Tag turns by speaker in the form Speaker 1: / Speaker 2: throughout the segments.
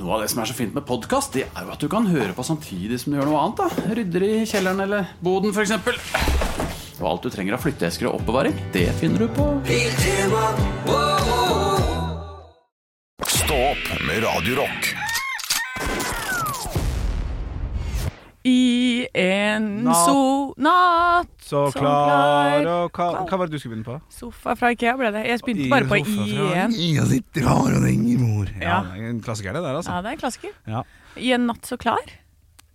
Speaker 1: Noe av det som er så fint med podkast, det er jo at du kan høre på samtidig som du gjør noe annet. da Rydder i kjelleren eller boden, f.eks. Og alt du trenger av flytteesker og oppbevaring, det finner du på
Speaker 2: Stå opp med Radio Rock.
Speaker 3: I en
Speaker 4: Natt.
Speaker 3: so natt
Speaker 4: Så
Speaker 3: Som
Speaker 4: klar
Speaker 3: klar.
Speaker 4: og kald Hva var det du skulle begynne på?
Speaker 3: Sofa fra Ikea ble det. Jeg begynte
Speaker 4: I
Speaker 3: bare på
Speaker 4: sofa fra
Speaker 3: i en.
Speaker 4: Ia sitter far og ringer mor. Ja,
Speaker 3: Ja.
Speaker 4: det er En klassiker, det der, altså.
Speaker 3: Ja, det er en klassiker.
Speaker 4: Ja.
Speaker 3: I en natt så klar.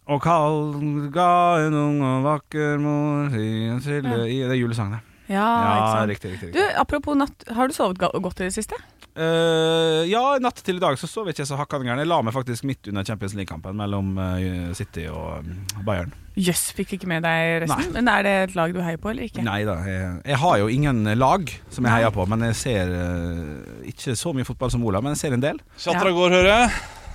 Speaker 4: Og kald ga en ung og vakker mor i en silde i Det er julesangen, det.
Speaker 3: Ja, Ah, ikke
Speaker 4: Ja,
Speaker 3: sant.
Speaker 4: riktig, riktig.
Speaker 3: Du,
Speaker 4: riktig.
Speaker 3: apropos natt, har du sovet ga- godt i det siste?
Speaker 4: Eh, ja, natt til i dag så sov jeg ikke så hakkande gæren. Jeg la meg faktisk midt under Champions League-kampen mellom eh, City og mm, Bayern.
Speaker 3: Jøss, fikk ikke med deg resten. Men er det et lag du heier på, eller ikke?
Speaker 4: Nei da. Jeg, jeg har jo ingen lag som jeg heier på, men jeg ser eh, ikke så mye fotball som Ola, men jeg ser en del.
Speaker 5: Chatra går, hører jeg.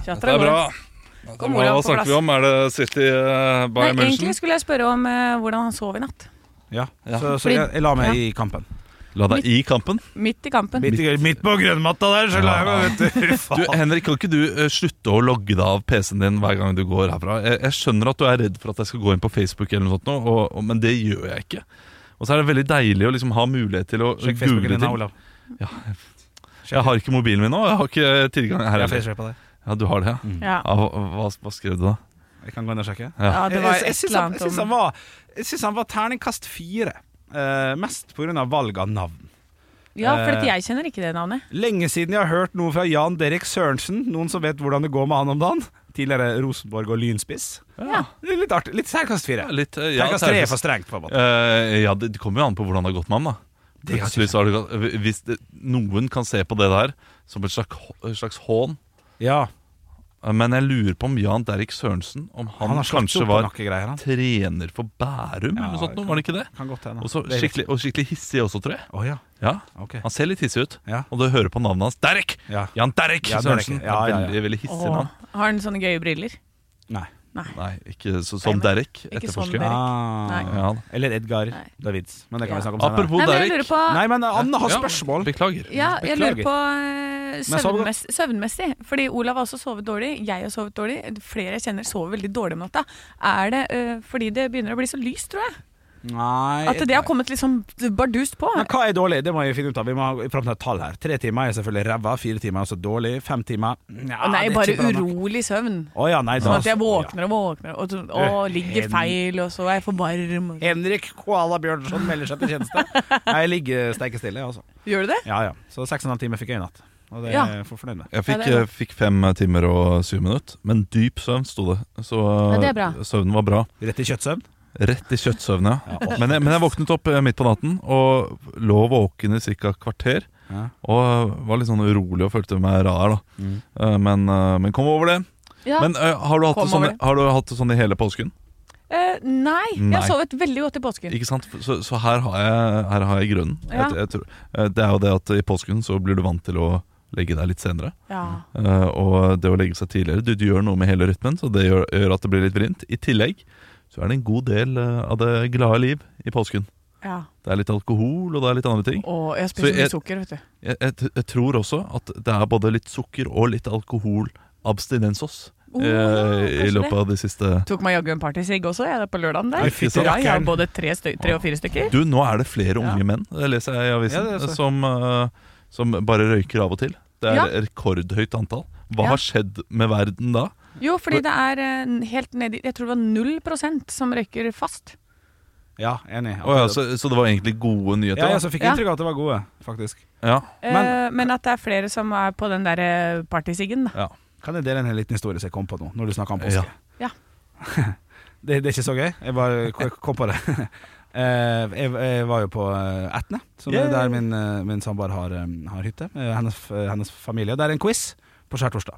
Speaker 3: Chatra
Speaker 5: Det er bra.
Speaker 3: går.
Speaker 5: Det
Speaker 3: Kom,
Speaker 5: er bra.
Speaker 3: Olav,
Speaker 5: Hva
Speaker 3: på plass.
Speaker 5: snakker vi om? Er det City uh,
Speaker 3: Nei,
Speaker 5: Bayern München?
Speaker 3: egentlig skulle jeg spørre om eh, hvordan han sov i natt.
Speaker 4: Ja.
Speaker 5: Ja.
Speaker 4: Så, så
Speaker 3: Fordi-
Speaker 4: jeg, jeg la meg i kampen.
Speaker 5: La deg i kampen.
Speaker 3: Midt i kampen.
Speaker 4: Midt, i- midt på grønnmatta der, så la jeg meg, vet du.
Speaker 5: Du,
Speaker 4: Faen.
Speaker 5: Henrik, kan ikke du eh, slutte å logge deg av PC-en din hver gang du går herfra? Jeg, jeg skjønner at du er redd for at jeg skal gå inn på Facebook, eller noe sånt nå, og, og, men det gjør jeg ikke. Og så er det veldig deilig å liksom ha mulighet til å google
Speaker 4: Sjekk Facebooken din, da,
Speaker 5: ting.
Speaker 4: Olav.
Speaker 5: Ja. Jeg har ikke mobilen min nå. Jeg har ikke tilgang her
Speaker 4: Jeg,
Speaker 5: heller.
Speaker 4: facerer på deg.
Speaker 5: Ja, du har det, ja.
Speaker 3: Ja.
Speaker 5: ja hva, hva, hva skrev du da?
Speaker 4: jeg kan gå inn og sjekke.
Speaker 3: ja, det var
Speaker 4: Jeg- jeg
Speaker 3: et
Speaker 4: syns
Speaker 3: eller
Speaker 4: han, jeg
Speaker 3: annet
Speaker 4: synes han
Speaker 3: om
Speaker 4: var Jeg synes han var terningkast fire. Eh, mest pga. valg av navn.
Speaker 3: Ja, for
Speaker 4: Eh,
Speaker 3: at jeg kjenner ikke det navnet.
Speaker 4: Lenge siden jeg har hørt noe fra Jan Derek Sørensen. Noen som vet hvordan det går med han om dagen? Tidligere Rosenborg og Lynspiss.
Speaker 3: Ja.
Speaker 4: Det er Litt artig. Litt terningkast fire.
Speaker 5: Ja, litt, eh, ja,
Speaker 4: Terningkast tre er for strengt, på en måte.
Speaker 5: Eh, ja, det, det kommer jo an på hvordan det har gått med ham, da.
Speaker 4: Det har
Speaker 5: Plutselig så har det gått eh, Hvis det, noen kan se på det der som et slags, hå- slags hån
Speaker 4: Ja,
Speaker 5: eh, Men jeg lurer på om Jan Derrik Sørensen Om han,
Speaker 4: han har slått seg
Speaker 5: kanskje
Speaker 4: opp på
Speaker 5: var
Speaker 4: noen greier, han.
Speaker 5: trener for Bærum,
Speaker 4: Ja,
Speaker 5: eller noe sånt,
Speaker 4: det
Speaker 5: noe, var det ikke det?
Speaker 4: Kan godt hende.
Speaker 5: Og så
Speaker 4: Det er
Speaker 5: skikkelig, og skikkelig hissig også, tror jeg.
Speaker 4: riktig. Å ja.
Speaker 5: Ja,
Speaker 4: Ok.
Speaker 5: Han ser litt hissig ut.
Speaker 4: Ja.
Speaker 5: Og du hører på navnet hans Derek!
Speaker 4: Ja.
Speaker 5: Jan Derek
Speaker 4: Ja, Derek.
Speaker 5: Sørensen.
Speaker 4: Ja, ja, ja.
Speaker 5: Veldig, veldig hissig
Speaker 3: Åh,
Speaker 5: navn.
Speaker 3: har han sånne gøye briller?
Speaker 4: Nei.
Speaker 5: Nei, ikke så, som
Speaker 3: Nei, men-
Speaker 5: Derek.
Speaker 3: ikke sånn
Speaker 5: Etterforsker.
Speaker 3: Derek.
Speaker 4: Ah.
Speaker 3: Nei.
Speaker 5: Ja.
Speaker 4: Eller Edgar
Speaker 3: Nei.
Speaker 4: Davids. Men det kan vi
Speaker 3: Ja.
Speaker 4: snakke om senere.
Speaker 5: Apropos
Speaker 3: Nei, men jeg
Speaker 5: Derek.
Speaker 3: lurer på
Speaker 4: Nei, men Anne har
Speaker 5: Ja,
Speaker 4: spørsmål.
Speaker 5: Beklager.
Speaker 3: Ja, jeg
Speaker 4: Beklager.
Speaker 3: lurer på eh,
Speaker 4: jeg sover
Speaker 3: søvnmess søvnmessig. Fordi Olav har også sovet dårlig. Jeg har sovet dårlig. Flere jeg kjenner sover veldig dårlig om natta. Er det eh, fordi det begynner å bli så lyst, tror jeg?
Speaker 4: Nei
Speaker 3: At det har kommet litt sånn bardust på?
Speaker 4: Men hva er dårlig? Det må jeg finne ut av. Vi må ha fram til et tall her. Tre timer er selvfølgelig ræva, fire timer er også dårlig, fem timer
Speaker 3: Nei,
Speaker 4: ja, det er
Speaker 3: bare
Speaker 4: ikke bra nok.
Speaker 3: urolig søvn.
Speaker 4: Å ja, nei, da-
Speaker 3: Sånn at jeg våkner og våkner og, sånn, å, ligger feil, og så er jeg for varm.
Speaker 4: Ja. Henrik Koala Bjørnson melder seg til tjeneste. Nei, Jeg ligger steikestille, altså.
Speaker 3: Gjør du det?
Speaker 4: Ja ja. Så seks og en halv time fikk jeg i natt. Og det
Speaker 3: Ja.
Speaker 4: er jeg for fornøyd med.
Speaker 5: Jeg
Speaker 3: Ja,
Speaker 5: fikk,
Speaker 3: det er bra.
Speaker 5: eh, fikk fem timer og syv minutter, men dyp søvn sto det. Så eh,
Speaker 3: Ja, det er bra.
Speaker 5: søvnen var bra.
Speaker 4: Rett i kjøttsøvn.
Speaker 5: Rett i kjøttsøvn, ja. men, jeg, men jeg våknet opp eh, midt på natten og lå våken i ca. kvarter.
Speaker 4: Ja.
Speaker 5: Og var litt sånn urolig og følte meg rar, da. Eh, Men, eh, men kom over det.
Speaker 3: Ja.
Speaker 5: Men eh, har du, hatt
Speaker 3: Kom
Speaker 5: det
Speaker 3: over
Speaker 5: sånn,
Speaker 3: det.
Speaker 5: har du hatt det sånn i hele påsken?
Speaker 3: Eh, nei, jeg
Speaker 5: Nei.
Speaker 3: har sovet veldig godt i påsken.
Speaker 5: Ikke sant? Så, så her har jeg, her har jeg grunnen.
Speaker 3: Ja.
Speaker 5: Jeg, jeg tror, eh, det er jo det at i påsken så blir du vant til å legge deg litt senere.
Speaker 3: Ja.
Speaker 5: Eh, og det å legge seg tidligere Du, du gjør noe med hele rytmen, så det gjør, gjør at det blir litt vrient. I tillegg så er det en god del eh, av det glade liv i påsken.
Speaker 3: ja.
Speaker 5: Det er litt alkohol, og det er litt andre ting.
Speaker 3: Og jeg
Speaker 5: Så
Speaker 3: spiser
Speaker 5: jeg-
Speaker 3: mye sukker, vet du.
Speaker 5: Jeg, jeg, t- jeg tror også at det er både litt sukker og litt alkoholabstinens hos
Speaker 3: Oh,
Speaker 5: eh,
Speaker 3: ja,
Speaker 5: i
Speaker 3: kanskje
Speaker 5: løpet av de siste
Speaker 3: Tok meg jaggu en partysigg også, jeg, på lørdagen
Speaker 5: Nei,
Speaker 3: der.
Speaker 5: fy
Speaker 3: Ja,
Speaker 4: rakkeren.
Speaker 3: jeg har både tre, støy, tre og fire stykker.
Speaker 5: Du, nå er det flere unge menn, det leser jeg i
Speaker 4: Ja,
Speaker 5: avisen,
Speaker 4: det er så.
Speaker 5: som, eh, som bare røyker av og til. Det er
Speaker 3: Ja.
Speaker 5: rekordhøyt antall. Hva
Speaker 3: Ja.
Speaker 5: har skjedd med verden da?
Speaker 3: Jo, fordi det er eh, helt nedi Jeg tror det var null prosent som røyker fast.
Speaker 4: Ja, enig.
Speaker 5: Å ja, så, så det var egentlig gode nyheter?
Speaker 4: ja,
Speaker 5: da?
Speaker 4: ja, så fikk
Speaker 3: Ja.
Speaker 4: jeg inntrykk av at det var gode, faktisk.
Speaker 5: ja.
Speaker 3: Eh,
Speaker 4: Men-
Speaker 3: Men, at det er flere som er på den der eh, partysiggen. da.
Speaker 4: Kan jeg dele en liten historie som jeg kom på nå, når du snakker om påske?
Speaker 5: Ja.
Speaker 3: Ja.
Speaker 4: det, det er ikke så gøy. Jeg bare k- kom på det. Eh, jeg, jeg var jo på eh, Etne, som er der min, eh, min samboer har, eh, har hytte. eh, Hennes, f- eh, hennes familie. Det er en quiz på skjærtorsdag.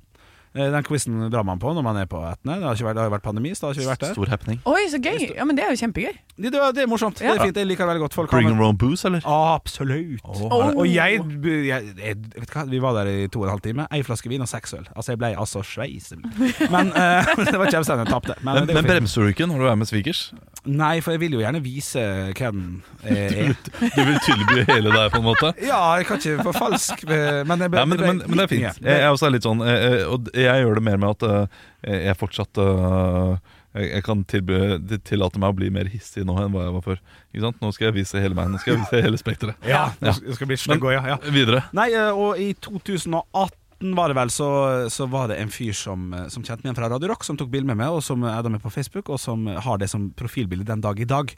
Speaker 4: Eh, Den quizen drar man på når man er på Etne. Det har, ikke vært, det har jo vært pandemi, så da har ikke vi vært der.
Speaker 5: Stor happening.
Speaker 3: Oi, så gøy! Ja, men Det er jo kjempegøy.
Speaker 4: Det, det er- det er morsomt. Det er
Speaker 5: Ja.
Speaker 4: fint. Jeg liker det veldig godt. Folk
Speaker 5: Bring
Speaker 4: har
Speaker 5: your own booze, eller?
Speaker 4: Absolutt.
Speaker 5: Å,
Speaker 3: er det-
Speaker 4: Og jeg, jeg, jeg vet du hva, Vi var der i to og en halv time. Ei flaske vin og seks øl. Altså, jeg ble altså sveisel. Men eh, det var kjempestemning. Jeg tapte. Men,
Speaker 5: Men,
Speaker 4: det går
Speaker 5: men
Speaker 4: fint.
Speaker 5: bremser du ikke når du er med svigers?
Speaker 4: Nei, for jeg vil jo gjerne vise hvem jeg er.
Speaker 5: Du vil tilby hele deg, på en måte?
Speaker 4: Ja, jeg kan ikke forfalske men, jeg ble-
Speaker 5: Ja, men,
Speaker 4: ble
Speaker 5: men, men det er
Speaker 4: litt
Speaker 5: fint.
Speaker 4: mye.
Speaker 5: Jeg, jeg også er litt sånn, eh, eh, og jeg gjør det mer med at eh, jeg fortsatt eh, jeg jeg kan tilby, tillate meg å bli mer hissig nå enn hva jeg var før. Ikke sant? Nå skal jeg vise hele meg. Nå skal jeg vise hele spekteret.
Speaker 4: Ja,
Speaker 5: Ja.
Speaker 4: det skal- det skal bli stygg også, ja. ja.
Speaker 5: Videre.
Speaker 4: Nei, eh, og i 2018 var det vel, så, så var det en fyr som, eh, som kjente meg igjen fra Radio Rock, som tok bilde med meg, og som er da med på Facebook, og som har det som profilbilde den dag i dag.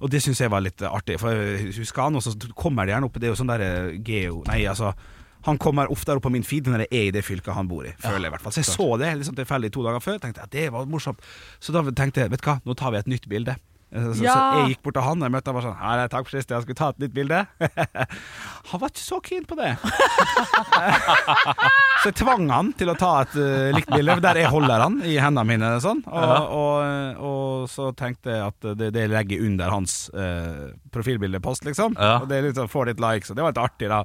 Speaker 4: Og det syns jeg var litt artig, for jeg husker han, og så kommer det gjerne opp Det er jo sånn der eh, geo... Nei, altså. Han kommer oftere opp på min feed når jeg er i det fylket han bor i. Føler jeg i hvert fall Så jeg så det liksom tilfeldig to dager før. Tenkte at det var morsomt Så da tenkte jeg vet du hva, nå tar vi et nytt bilde. Eh, Så, så
Speaker 3: Ja.
Speaker 4: jeg gikk bort til han og jeg møtte han og var sånn Hei, takk for sist, jeg skulle ta et nytt bilde. han var ikke så keen på det. Så jeg tvang han til å ta et eh, likt bilde, der jeg holder han i hendene mine. Sånn. Og, og, og så tenkte jeg at det, det legger jeg under hans eh, profilbildepost, liksom.
Speaker 5: Ja.
Speaker 4: Og det er litt sånn, får litt likes, og det var litt artig, da.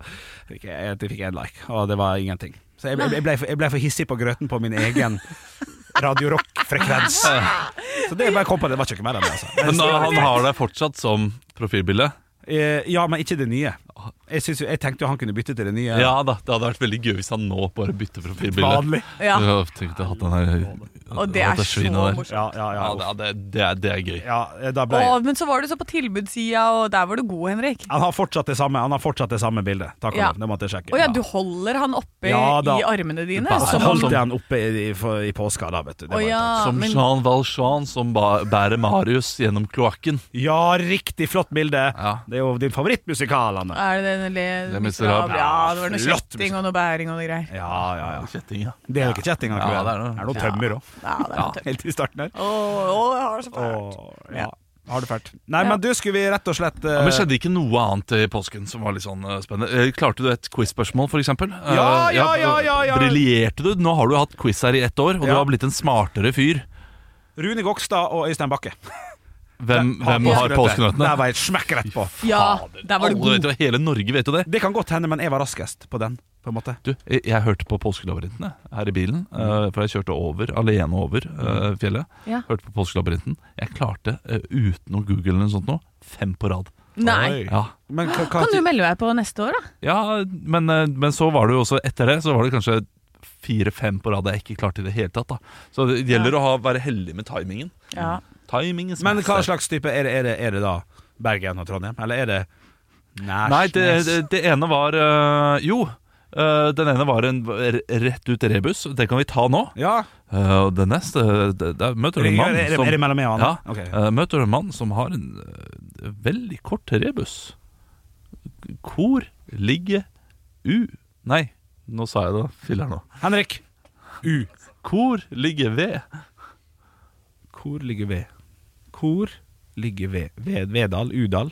Speaker 4: Fikk jeg, jeg fikk én like, og det var ingenting. Så jeg, jeg, ble, for- jeg ble for hissig på grøten på min egen Radio Rock-frekvens. Så det bare kom på, det var ikke mer enn det, altså.
Speaker 5: Men da, han har deg fortsatt som profilbilde?
Speaker 4: Eh, ja, men ikke det nye. Jeg, synes jo, jeg tenkte jo han kunne bytte til det nye.
Speaker 5: Ja da. Det hadde vært veldig gøy hvis han nå bare bytter profilbilde.
Speaker 4: Vanlig.
Speaker 3: Ja.
Speaker 5: Jeg tenkte at den her
Speaker 3: Og det er
Speaker 5: at det
Speaker 3: så
Speaker 5: svinet der.
Speaker 3: morsomt.
Speaker 4: Ja, ja, ja.
Speaker 5: Ja, det, det, det, er, det er gøy.
Speaker 4: ja, eh, da ble jeg
Speaker 3: Å, men så var du så på tilbudssida, og der var du god, Henrik.
Speaker 4: Han har fortsatt det samme, han har fortsatt det samme bildet. Takk og
Speaker 3: Ja.
Speaker 4: lov, det måtte jeg sjekke.
Speaker 3: Å ja, du holder han oppe
Speaker 4: Ja, da.
Speaker 3: i armene dine?
Speaker 5: Bare
Speaker 4: Så
Speaker 3: Som om
Speaker 4: holdt jeg han oppe i, i, for, i påska, da, vet du. Det
Speaker 3: Å
Speaker 4: var
Speaker 3: ja,
Speaker 4: helt-
Speaker 5: Som
Speaker 3: Ah, men-
Speaker 5: Jean Valjean som ba- bærer Marius gjennom kloakken.
Speaker 4: ja, riktig flott bilde!
Speaker 5: Ja.
Speaker 4: Det er jo din favorittmusikal, Anne.
Speaker 3: Er det den le...
Speaker 5: Les Miserables.
Speaker 3: Ja, det var noe
Speaker 4: Flott
Speaker 3: kjetting og noe bæring og noe greier.
Speaker 4: Ja, ja, ja.
Speaker 5: Kjetting, ja.
Speaker 4: Det er jo ikke kjetting,
Speaker 5: Ja,
Speaker 4: akkurat.
Speaker 5: det er noe-
Speaker 4: det er noe tømmer òg,
Speaker 3: Ja, det er tøft.
Speaker 4: helt i starten her.
Speaker 3: Å, å, jeg har det så fælt.
Speaker 4: Åh, ja. Har det fælt. Nei,
Speaker 3: Ja.
Speaker 4: men du, skulle vi rett og slett eh,
Speaker 5: Ja, men Skjedde ikke noe annet i påsken som var litt sånn eh, spennende? Eh, Klarte du et quiz-spørsmål, f.eks.?
Speaker 4: Ja, ja, ja, ja, ja.
Speaker 5: Briljerte du? Nå har du hatt quiz her i ett år, og du
Speaker 4: Ja.
Speaker 5: har blitt en smartere fyr.
Speaker 4: eh, Rune Gokstad og Øystein Bakke.
Speaker 5: Hvem, hvem har påskenøttene?
Speaker 4: Der var jeg smekk rett på.
Speaker 3: Ja, der var du
Speaker 5: Alle
Speaker 3: god.
Speaker 5: vet jo, hele Norge vet jo det.
Speaker 4: Det kan godt hende, men jeg var raskest på den, på en måte.
Speaker 5: Du, jeg, jeg hørte på Påskelabyrinten jeg, her i bilen, eh,
Speaker 4: Mm.
Speaker 5: for jeg kjørte over, alene over eh, fjellet.
Speaker 3: Ja.
Speaker 5: Hørte på Påskelabyrinten. Jeg klarte, eh, uten å google eller noe sånt nå, fem på rad.
Speaker 3: Nei.
Speaker 5: Ja,
Speaker 4: Men hva- hva-
Speaker 3: Kan du melde deg på neste år, da?
Speaker 5: Ja, men, eh, men så var det jo også etter det Så var det kanskje fire-fem på rad jeg ikke klarte i det hele tatt da. Så det gjelder å ha, være heldig med timingen
Speaker 3: Ja.
Speaker 5: Timing is
Speaker 4: Men hva
Speaker 5: master.
Speaker 4: slags type er det, er det, er det da? Bergen og Trondheim? Eller er det Nærsnes?
Speaker 5: Nei, det, det, det ene var eh, Jo, eh, den ene var en r- rett ut rebus Den kan vi ta nå
Speaker 4: Ja,
Speaker 5: Eh, Og den neste, eh, det- der møter du
Speaker 4: er det,
Speaker 5: en mann
Speaker 4: er det,
Speaker 5: som,
Speaker 4: er det mellom meg og Anne?
Speaker 5: Ja.
Speaker 4: Ok.
Speaker 5: eh, Møter du en mann som har en eh, veldig kort rebus Hvor ligger U Nei, nå sa jeg det, filler nå
Speaker 4: Henrik! U.
Speaker 5: Hvor ligger V?
Speaker 4: Hvor ligger V? Hvor ligger V? v Vedal? Udal?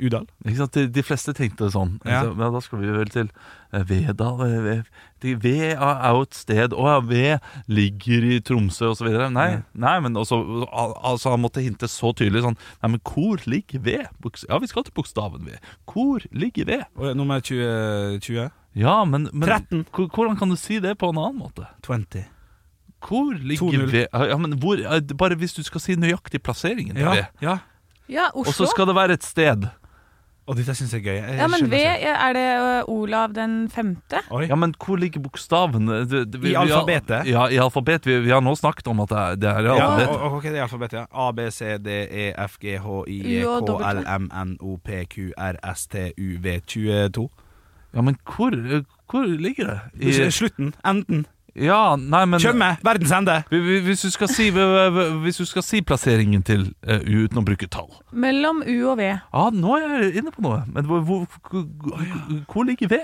Speaker 4: Udal?
Speaker 5: Ikke sant? De, de fleste tenkte sånn.
Speaker 4: Ja.
Speaker 5: Altså, men da skal vi vel til eh, Vedal eh, Ve- de- V er er jo et sted Å ja, V ligger i Tromsø osv. Nei,
Speaker 4: Ja.
Speaker 5: nei, men også, al- altså, han måtte hinte så tydelig sånn Nei, men hvor ligger V? Boks- Ja, vi skal til bokstaven V. Hvor ligger V?
Speaker 4: Og Nummer 20? 20?
Speaker 5: Ja, men, men
Speaker 4: 13.
Speaker 5: hvor- Hvordan kan du si det på en annen måte?
Speaker 4: 20.
Speaker 5: Hvor ligger
Speaker 4: 2-0.
Speaker 5: V? Ja, men hvor, eh, bare hvis du skal si nøyaktig plasseringen til
Speaker 4: Ja.
Speaker 5: V.
Speaker 4: ja.
Speaker 3: ja,
Speaker 5: Og så
Speaker 3: Oslo.
Speaker 5: skal det være et sted.
Speaker 4: Og dette syns jeg er gøy. Jeg
Speaker 3: Ja, men
Speaker 4: skjønner
Speaker 3: V,
Speaker 4: ikke.
Speaker 3: er det ø, Olav den femte?
Speaker 4: Oi.
Speaker 5: Ja, men hvor ligger bokstaven? Det- det-
Speaker 4: I
Speaker 5: har-
Speaker 4: alfabetet?
Speaker 5: Ja, i alfabet. Vi, vi har nå snakket om at det er, det er i
Speaker 4: Ja,
Speaker 5: alfabet.
Speaker 4: og- og- ok, det er alfabetet, ja. A, B, C, D, E, F, G, H, I, E,
Speaker 3: U og
Speaker 4: K, L,
Speaker 3: W.
Speaker 4: M, N, O, P, Q, R, S, T, U, V, 22.
Speaker 5: Ja, men hvor, hvor ligger det? I,
Speaker 4: Slutten. Enden.
Speaker 5: ja, nei, men
Speaker 4: Tjøme. Verdens ende.
Speaker 5: Vi- vi- Hvis du skal si, hvis du skal si plasseringen til eh, U uten å bruke tall
Speaker 3: Mellom U og V.
Speaker 5: Ja, nå er jeg inne på noe. Men hvor, hvor, hvor, hvor ligger V?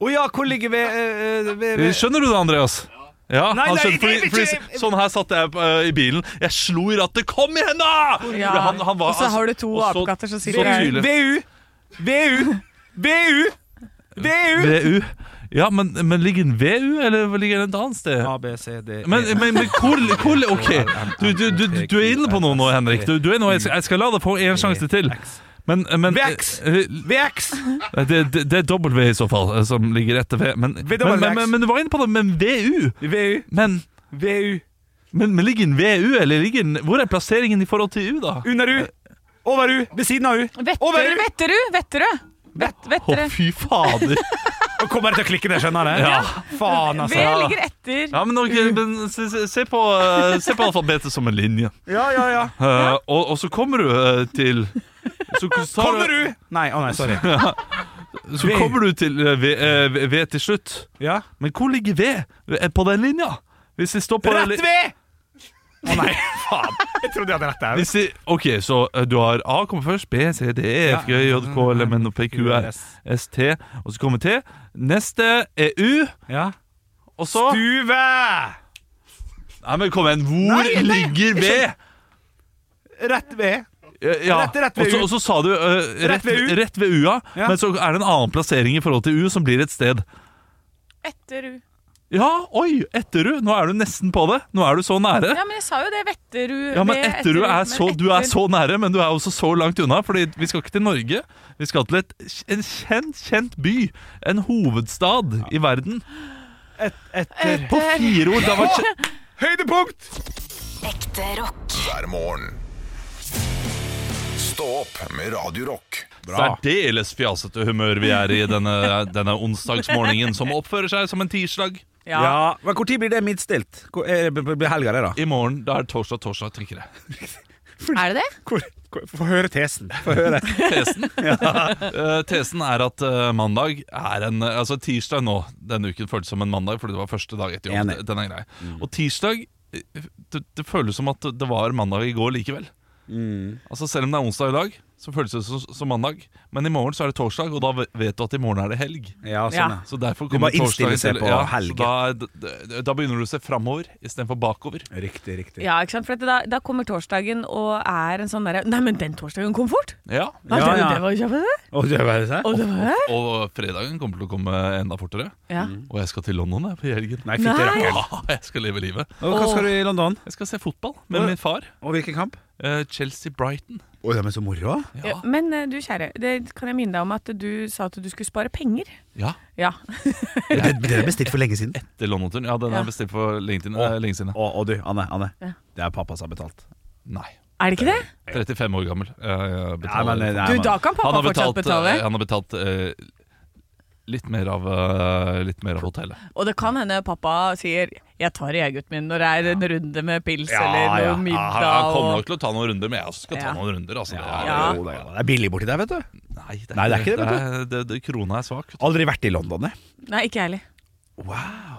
Speaker 4: Å ja, hvor ligger vi? eh, eh, vi- vi-
Speaker 5: Skjønner du det, Andreas? Ja,
Speaker 4: Nei,
Speaker 5: han
Speaker 4: nei,
Speaker 5: skjønte,
Speaker 4: det-
Speaker 5: fordi, fordi Sånn her satt jeg eh, i bilen. Jeg slo i rattet. Kom igjen, da!
Speaker 3: Ja.
Speaker 5: Han- han var-
Speaker 3: og så har du to
Speaker 5: og så-
Speaker 3: apekatter som
Speaker 5: så
Speaker 3: sitter her.
Speaker 5: tydelig.
Speaker 4: VU! VU! VU! VU!
Speaker 5: VU. Ja, men, men ligger den VU, eller ligger den et annet sted?
Speaker 4: A, B, C, D, E.
Speaker 5: Men, men, men hvor, hvor Ok, du, du, du, du er inne på noe nå, Henrik. Du, du er nå, jeg, skal, jeg skal la deg få en sjanse til. Men, men
Speaker 4: VX.
Speaker 5: eh,
Speaker 4: VX!
Speaker 5: Det, det, det er W i så fall, eh, som ligger etter V. Men, men, men, men, men du var inne på det. Men VU
Speaker 4: VU.
Speaker 5: Men
Speaker 4: VU.
Speaker 5: Men, men ligger den ved U, eller ligger den, hvor er plasseringen i forhold til U, da?
Speaker 4: Under U! Over U! Ved siden av U! Over
Speaker 3: Vetterud,
Speaker 4: U!
Speaker 3: Vetterud, Vetterud! Vet-
Speaker 5: Å,
Speaker 3: Vetterud.
Speaker 5: fy fader!
Speaker 4: Og kommer jeg til å klikke det, skjønner jeg?
Speaker 5: Ja.
Speaker 4: Faen,
Speaker 3: V
Speaker 4: altså.
Speaker 3: ligger etter.
Speaker 5: Ja, men, ok, men se, se, se, på, eh, se på alfabetet som en linje.
Speaker 4: Ja, ja, ja.
Speaker 5: Eh, og, og så kommer du eh, til så, så,
Speaker 4: Kommer U! Nei, å nei, sorry.
Speaker 5: så kommer du til eh, v, eh, v, v til slutt.
Speaker 4: Ja.
Speaker 5: Men hvor ligger V eh, på den linja? Hvis de står på den li-
Speaker 4: Rett ved! Å nei, faen. Jeg trodde jeg hadde rett der.
Speaker 5: Hvis de, ok, så eh, du har A kommer først, B, C, D, E, F, G, J, K, L, M, N, O, P, Q, R, S, T, og så kommer T. Neste er U,
Speaker 4: Ja.
Speaker 5: og så
Speaker 4: Duve!
Speaker 5: Nei, men kom igjen, hvor
Speaker 4: Nei, nei,
Speaker 5: ligger V?
Speaker 4: Rett ved.
Speaker 5: Ja,
Speaker 4: Rett- rett ved
Speaker 5: og så-
Speaker 4: U.
Speaker 5: Og så sa du eh,
Speaker 4: Rett
Speaker 5: rett,
Speaker 4: ved U.
Speaker 5: rett ved U-a,
Speaker 4: Ja.
Speaker 5: men så er det en annen plassering i forhold til U som blir et sted.
Speaker 3: Etter U.
Speaker 5: Ja, oi, Etterud! Nå er du nesten på det. Nå er du så nære.
Speaker 3: Ja, men jeg sa jo det. Vetterud.
Speaker 5: Ja, men
Speaker 3: ved
Speaker 5: Etterud er
Speaker 3: men
Speaker 5: så, du er
Speaker 3: etter-
Speaker 5: så nære, men du er også så langt unna. Fordi vi skal ikke til Norge. Vi skal til et, en kjent, kjent by. En hovedstad i verden.
Speaker 4: Et, etter
Speaker 5: På fire ord! Det har vært kje-
Speaker 4: Høydepunkt!
Speaker 6: Ekte rock.
Speaker 2: hver morgen. Stå opp med Radio Rock.
Speaker 5: særdeles fjasete humør vi er i denne, denne onsdagsmorgenen, som oppfører seg som en tirsdag.
Speaker 4: Ja. Men Når blir det midtstilt? Hvor- er det- Blir helga det, da?
Speaker 5: I morgen da er det torsdag, torsdag, tenker jeg.
Speaker 3: Er det det?
Speaker 4: Hvor, hvor, Få høre tesen. Få høre.
Speaker 5: Tesen, Eh, tesen er at eh, mandag er en eh, Altså tirsdag nå denne uken føltes som en mandag fordi det var første dag etter jobb.
Speaker 4: Enig. Mm.
Speaker 5: Den er grei. Og tirsdag eh, det, det føles som at det var mandag i går likevel.
Speaker 4: Mm.
Speaker 5: Altså Selv om det er onsdag i dag, så føles det som, som mandag. Men i morgen så er det torsdag, og da ve- vet du at i morgen er det helg.
Speaker 4: Ja, sånn,
Speaker 3: Ja.
Speaker 4: ja.
Speaker 5: Så derfor
Speaker 4: Du må
Speaker 5: kommer
Speaker 4: innstille
Speaker 5: torsdagen
Speaker 4: seg
Speaker 5: til-
Speaker 4: på
Speaker 5: ja,
Speaker 4: helg.
Speaker 5: så Da, da, da begynner du å se framover istedenfor bakover.
Speaker 4: Riktig, riktig.
Speaker 3: Ja, ikke sant? For at da, da kommer torsdagen og er en sånn derre Nei, men den torsdagen kom fort!
Speaker 5: Ja
Speaker 3: Nei,
Speaker 4: Ja,
Speaker 3: det,
Speaker 4: ja.
Speaker 3: det var jo kjapt, det.
Speaker 4: Og det var det sånn?
Speaker 3: Og det var
Speaker 5: Og fredagen kommer til å komme enda fortere.
Speaker 3: ja.
Speaker 5: Og jeg skal til London jeg, på helgen.
Speaker 4: Nei, fytti
Speaker 3: Nei.
Speaker 4: rakkeren.
Speaker 5: Ja, jeg skal leve livet.
Speaker 4: Og hva skal du i London?
Speaker 5: Jeg skal se fotball med min far.
Speaker 4: Og hvilken kamp?
Speaker 5: Eh, Chelsea-Brighton.
Speaker 4: Oi, det er så moro.
Speaker 5: Ja.
Speaker 3: Men eh, du kjære, det kan jeg minne deg om at du sa at du skulle spare penger.
Speaker 5: ja,
Speaker 3: Ja.
Speaker 4: Det, det er bestilt for lenge siden.
Speaker 5: til London-turen. Ja, den
Speaker 3: Ja.
Speaker 5: er bestilt for lenge, tiden,
Speaker 4: Å.
Speaker 5: eh, lenge siden.
Speaker 4: Og, og du, Anne. Anne.
Speaker 3: Ja.
Speaker 4: Det er pappa som har betalt.
Speaker 5: Nei.
Speaker 3: Er det ikke det?
Speaker 5: 35 år gammel. Eh, jeg betaler.
Speaker 4: Nei, men, nei,
Speaker 3: Du,
Speaker 4: men-
Speaker 3: da kan
Speaker 5: han
Speaker 3: pappa
Speaker 5: har betalt,
Speaker 3: fortsatt betale.
Speaker 5: eh, han har betalt eh, litt, mer av, eh, litt mer av hotellet.
Speaker 3: Og det kan hende pappa sier 'jeg tar det, jeg, gutten min', når det er en runde med pils
Speaker 4: Ja,
Speaker 3: eller noe
Speaker 4: ja.
Speaker 5: Ja, han, han
Speaker 3: middag.
Speaker 5: kommer
Speaker 3: og-
Speaker 5: nok til å ta noen runder, men jeg også skal ta
Speaker 3: Ja.
Speaker 5: noen runder. Altså, det er-
Speaker 3: Ja.
Speaker 4: Jo, det er- det er billig borti der, vet du.
Speaker 5: Nei, det er,
Speaker 4: Nei, det er ikke det,
Speaker 5: det,
Speaker 4: vet
Speaker 5: er, det, det, Krona er svak. vet du.
Speaker 4: Aldri vært i London, jeg.
Speaker 3: Nei, ikke jeg heller.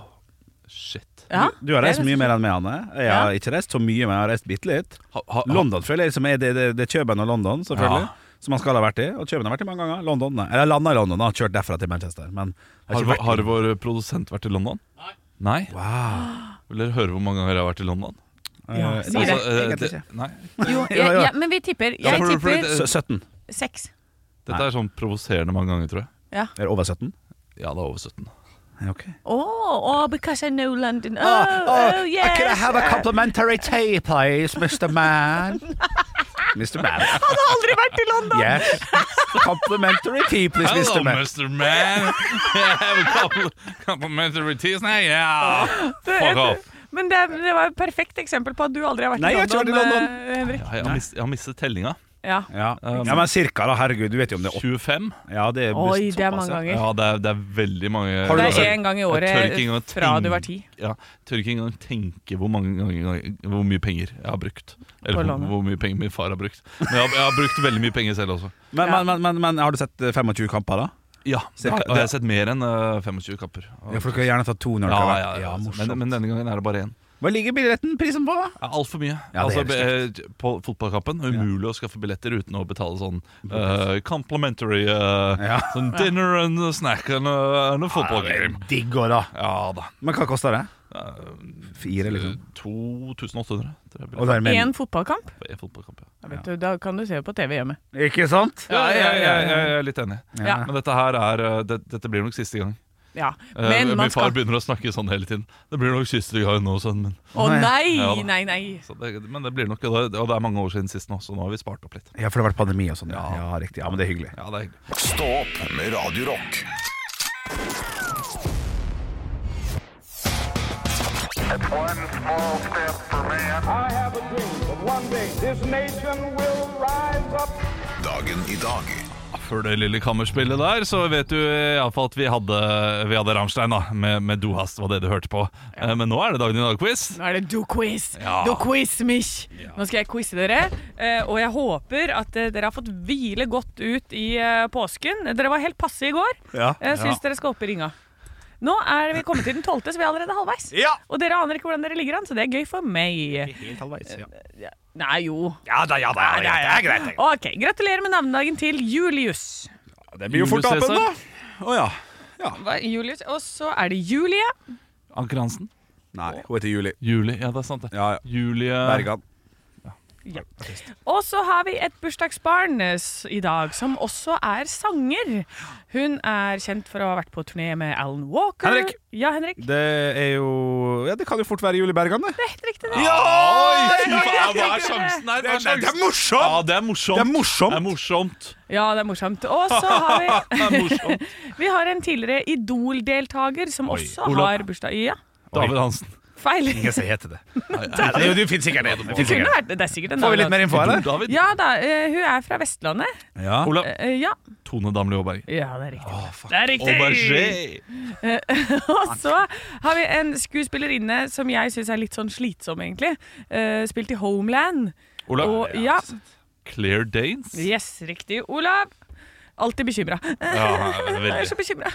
Speaker 5: Shit.
Speaker 3: Ja,
Speaker 4: Du har
Speaker 3: det
Speaker 4: reist
Speaker 3: er
Speaker 4: mye mer enn meg, Anne. Jeg har ikke reist så mye, men jeg har reist bitte litt.
Speaker 5: Ha, ha, ha,
Speaker 4: London føler jeg liksom er det, det, det er Køben og London, selvfølgelig.
Speaker 5: Ja.
Speaker 4: Som man skal ha vært i. Og Køben har vært i mange ganger. London, nei. Eller landa i London, da. Kjørt derfra til Manchester. Men jeg
Speaker 5: har,
Speaker 4: har ikke
Speaker 5: vår-
Speaker 4: vært i-
Speaker 5: har vår produsent vært i London? Nei.
Speaker 4: Wow.
Speaker 5: Vil dere høre hvor mange ganger jeg har vært i London?
Speaker 3: Ja,
Speaker 4: Eh,
Speaker 3: si
Speaker 4: nei,
Speaker 3: det.
Speaker 5: Altså, eh,
Speaker 4: egentlig ikke.
Speaker 5: det- nei.
Speaker 3: Jo,
Speaker 4: Ja,
Speaker 3: jeg,
Speaker 4: ja.
Speaker 3: ja, men vi tipper. Jeg
Speaker 5: for- for-
Speaker 3: tipper
Speaker 4: Sø- 17.
Speaker 3: seks.
Speaker 5: Dette er sånn provoserende mange ganger, tror jeg.
Speaker 4: Er det over 17?
Speaker 5: Ja, det er over 17.
Speaker 4: Ok.
Speaker 3: Oh, oh, because I know London. Oh,
Speaker 4: Ah,
Speaker 3: oh,
Speaker 4: ah,
Speaker 3: yes.
Speaker 4: Could I have a complimentary tea, please, Mr. Man? Mr. Man.
Speaker 3: Han har aldri vært i London!
Speaker 4: Yes. Complimentary tea, please, Mr. Man.
Speaker 5: Mr. Man. I have a couple complimentary teas now. Yeah.
Speaker 3: Det-
Speaker 5: Fuck off.
Speaker 3: Men det, det var et perfekt eksempel på at du aldri har vært
Speaker 4: Nei,
Speaker 3: i
Speaker 4: jeg har
Speaker 3: London,
Speaker 4: ikke vært i London.
Speaker 3: eh, Henrik.
Speaker 5: Jeg har, mist, jeg har mistet tellinga.
Speaker 3: Ja.
Speaker 4: Ja. ja, men cirka, da. Herregud, du vet jo om det er åtte.
Speaker 5: 25.
Speaker 4: Ja, det er
Speaker 3: Oi,
Speaker 4: såpass,
Speaker 3: det er mange
Speaker 4: ja.
Speaker 3: ganger.
Speaker 5: Ja, det er, det er veldig mange
Speaker 4: Har du
Speaker 3: Det
Speaker 4: altså-
Speaker 3: er én gang i
Speaker 5: Jeg tør ikke engang
Speaker 3: året fra
Speaker 5: tenke-
Speaker 3: du var ti.
Speaker 5: Ja, tør ikke engang tenke hvor, mange ganger, hvor mye penger jeg har brukt. Eller
Speaker 3: På
Speaker 5: hvor,
Speaker 3: landet.
Speaker 5: hvor mye penger min far har brukt. Men jeg har, jeg har brukt veldig mye penger selv også.
Speaker 4: Men,
Speaker 3: Ja.
Speaker 4: men, men, men, men har du sett eh, 25 kamper, da?
Speaker 5: Ja, Det
Speaker 4: Cirka-
Speaker 5: har det har jeg sett mer enn eh, 25 kapper.
Speaker 4: Ja, for du kan gjerne ta to
Speaker 5: Ja,
Speaker 4: når du har
Speaker 5: ja,
Speaker 4: vært
Speaker 5: ja,
Speaker 4: Ja,
Speaker 5: men,
Speaker 4: morsomt.
Speaker 5: men denne gangen er det bare én.
Speaker 4: Hva ligger billetten prisen på, da?
Speaker 5: Ja, Altfor mye.
Speaker 4: Ja, det er
Speaker 5: altså, eh, på fotballkampen umulig å skaffe billetter uten å betale sånn eh, complimentary eh,
Speaker 4: Mm. Ja.
Speaker 5: sånn dinner and a snack and a, and a football game.
Speaker 4: Digg òg, da.
Speaker 5: Ja da.
Speaker 4: Men hva koster det? Fire, liksom.
Speaker 5: Eh, 2800 tror jeg
Speaker 4: Og
Speaker 5: billetter
Speaker 4: dermed
Speaker 3: Én fotballkamp?
Speaker 5: på en fotballkamp. Ja.
Speaker 3: Ja, vet du, da kan du se på TV hjemme.
Speaker 4: Ikke sant?
Speaker 5: Ja, ja, ja, ja, jeg er litt enig.
Speaker 3: Ja.
Speaker 5: Men dette her er eh, det, Dette blir nok siste gang.
Speaker 3: Ja.
Speaker 5: Eh,
Speaker 3: Men man
Speaker 5: Min far
Speaker 3: skal
Speaker 5: begynner å snakke sånn hele tiden. Det blir nok siste gang nå, sønn min.
Speaker 3: Å nei,
Speaker 5: Ja da.
Speaker 3: nei, nei.
Speaker 5: Så det, men det blir nok, og det, og det er mange år siden sist nå, så nå har vi spart opp litt.
Speaker 4: Ja, for det har vært pandemi og sånn. Ja.
Speaker 5: Ja.
Speaker 4: ja, riktig. Ja, men det er hyggelig.
Speaker 5: Ja, det er hyggelig.
Speaker 2: Stå opp med Radio Rock.
Speaker 7: One small step for man. I have a dream that one day this nation will rise up.
Speaker 2: Dagen i dag.
Speaker 5: Før det lille kammerspillet der, så vet du eh, iallfall at vi hadde, vi hadde Rammstein da, med, med Dohast, var det du hørte på. Eh, Men nå er det Dagen i dag-quiz.
Speaker 3: Nå er det du quiz!
Speaker 5: Ja.
Speaker 3: Du quiz, mich! Nå skal jeg quize dere, eh, og jeg håper at eh, dere har fått hvile godt ut i eh, påsken. Dere var helt passe i går.
Speaker 5: Ja.
Speaker 3: Jeg syns dere skal opp i ringa. Nå er vi kommet til den tolvte, så vi er allerede halvveis.
Speaker 4: Ja.
Speaker 3: Og dere aner ikke hvordan dere ligger an, så det er gøy for meg.
Speaker 4: Helt halvveis, ja.
Speaker 3: Nei, jo.
Speaker 4: Ja da, ja da. Ja, ja, greit.
Speaker 3: Ok, Gratulerer med navnedagen til Julius.
Speaker 4: Det blir jo fort
Speaker 5: Julius
Speaker 4: apen, da.
Speaker 5: Cæsar.
Speaker 4: Å ja.
Speaker 3: Hva, Julius. Og så er det Julie.
Speaker 5: Anker Hansen.
Speaker 4: Nei, hun heter Juli.
Speaker 5: Julie. Ja, det er sant, det.
Speaker 4: Ja, ja.
Speaker 5: Julie
Speaker 4: Bergan.
Speaker 3: Og så har vi et bursdagsbarn eh, s- i dag, som også er sanger. Hun er kjent for å ha vært på turné med Alan Walker.
Speaker 4: Henrik.
Speaker 3: Ja, Henrik.
Speaker 4: Det er jo Ja, det kan jo fort være Juli Bergan, det.
Speaker 3: Det er helt riktig, det.
Speaker 5: Oi, fy faen, hva er sjansen her? Hva er
Speaker 4: Det er
Speaker 5: sjansen? Ja,
Speaker 4: morsomt!
Speaker 5: det er morsomt.
Speaker 4: Det er morsomt.
Speaker 5: Det er morsomt.
Speaker 3: Ja, det er morsomt. Og så har vi
Speaker 5: Det er morsomt.
Speaker 3: Vi har en tidligere Idol-deltaker som
Speaker 5: Oi,
Speaker 3: også
Speaker 5: Olav.
Speaker 3: har bursdag. Ja,
Speaker 5: David Hansen.
Speaker 3: feil.
Speaker 4: Ingen som heter det. Det er jo- Du finnes sikkert det. det finnes
Speaker 3: Kunne
Speaker 4: sikkert.
Speaker 3: vært, det er sikkert en
Speaker 4: Får vi litt
Speaker 3: annen
Speaker 4: mer info her, eller?
Speaker 5: David.
Speaker 3: Ja da, eh, hun er fra Vestlandet.
Speaker 4: Ja.
Speaker 5: Olav.
Speaker 3: Eh, ja.
Speaker 5: Tone Damli Aaberg.
Speaker 3: ja, det er riktig. det er
Speaker 5: Oh
Speaker 3: riktig!
Speaker 5: Aubergé.
Speaker 3: Og så har vi en skuespillerinne som jeg syns er litt sånn slitsom, egentlig. Eh, spilt i Homeland.
Speaker 5: Olav.
Speaker 3: Og ja,
Speaker 5: Claire Danes.
Speaker 3: yes, riktig. Olav. Alltid bekymra.
Speaker 5: Ja,
Speaker 3: Jeg er
Speaker 5: veldig.
Speaker 3: så bekymra.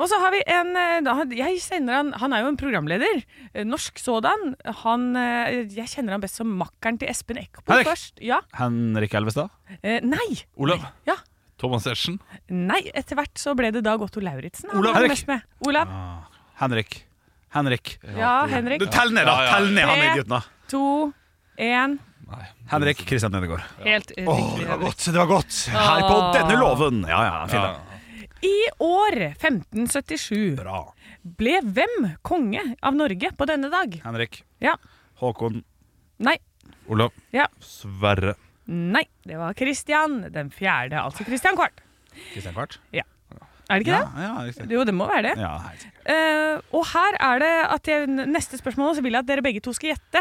Speaker 3: Og så har vi en eh, da- Jeg kjenner han Han er jo en programleder. eh, Norsk sådan. Han eh, Jeg kjenner han best som makkeren til Espen Eckbo
Speaker 4: Henrik.
Speaker 3: først. Ja.
Speaker 4: Henrik Elvestad.
Speaker 3: Eh, Nei.
Speaker 5: Olav.
Speaker 3: Ja.
Speaker 5: Thomas Giertsen.
Speaker 3: Nei. Etter hvert så ble det da Gotto Lauritzen. han
Speaker 5: Olav.
Speaker 3: var
Speaker 4: Henrik.
Speaker 3: mest med. Olav.
Speaker 4: Henrik. Henrik.
Speaker 3: Ja, Henrik.
Speaker 4: Du, tell ned, da!
Speaker 5: Ja, ja.
Speaker 4: Tell ned han
Speaker 3: Tre.
Speaker 4: idioten, da.
Speaker 3: To, én
Speaker 4: Henrik Kristian Nødegård.
Speaker 3: Helt eh, riktig.
Speaker 4: Det var
Speaker 3: Henrik.
Speaker 4: godt, det var godt. Her på denne låven. Ja, ja, fin da.
Speaker 3: I år 1577
Speaker 4: Bra.
Speaker 3: ble hvem konge av Norge på denne dag?
Speaker 4: Henrik.
Speaker 3: Ja.
Speaker 4: Håkon.
Speaker 3: Nei.
Speaker 5: Olav.
Speaker 3: Ja.
Speaker 5: Sverre.
Speaker 3: Nei. Det var Kristian den fjerde, altså Kristian Kvart.
Speaker 4: Kristian Kvart.
Speaker 3: Er det ikke
Speaker 4: Ja, ja, riktig.
Speaker 3: det? Jo, det må være det.
Speaker 4: Ja, helt sikkert.
Speaker 3: Eh, og her er det at jeg, neste spørsmål så vil jeg at dere begge to skal gjette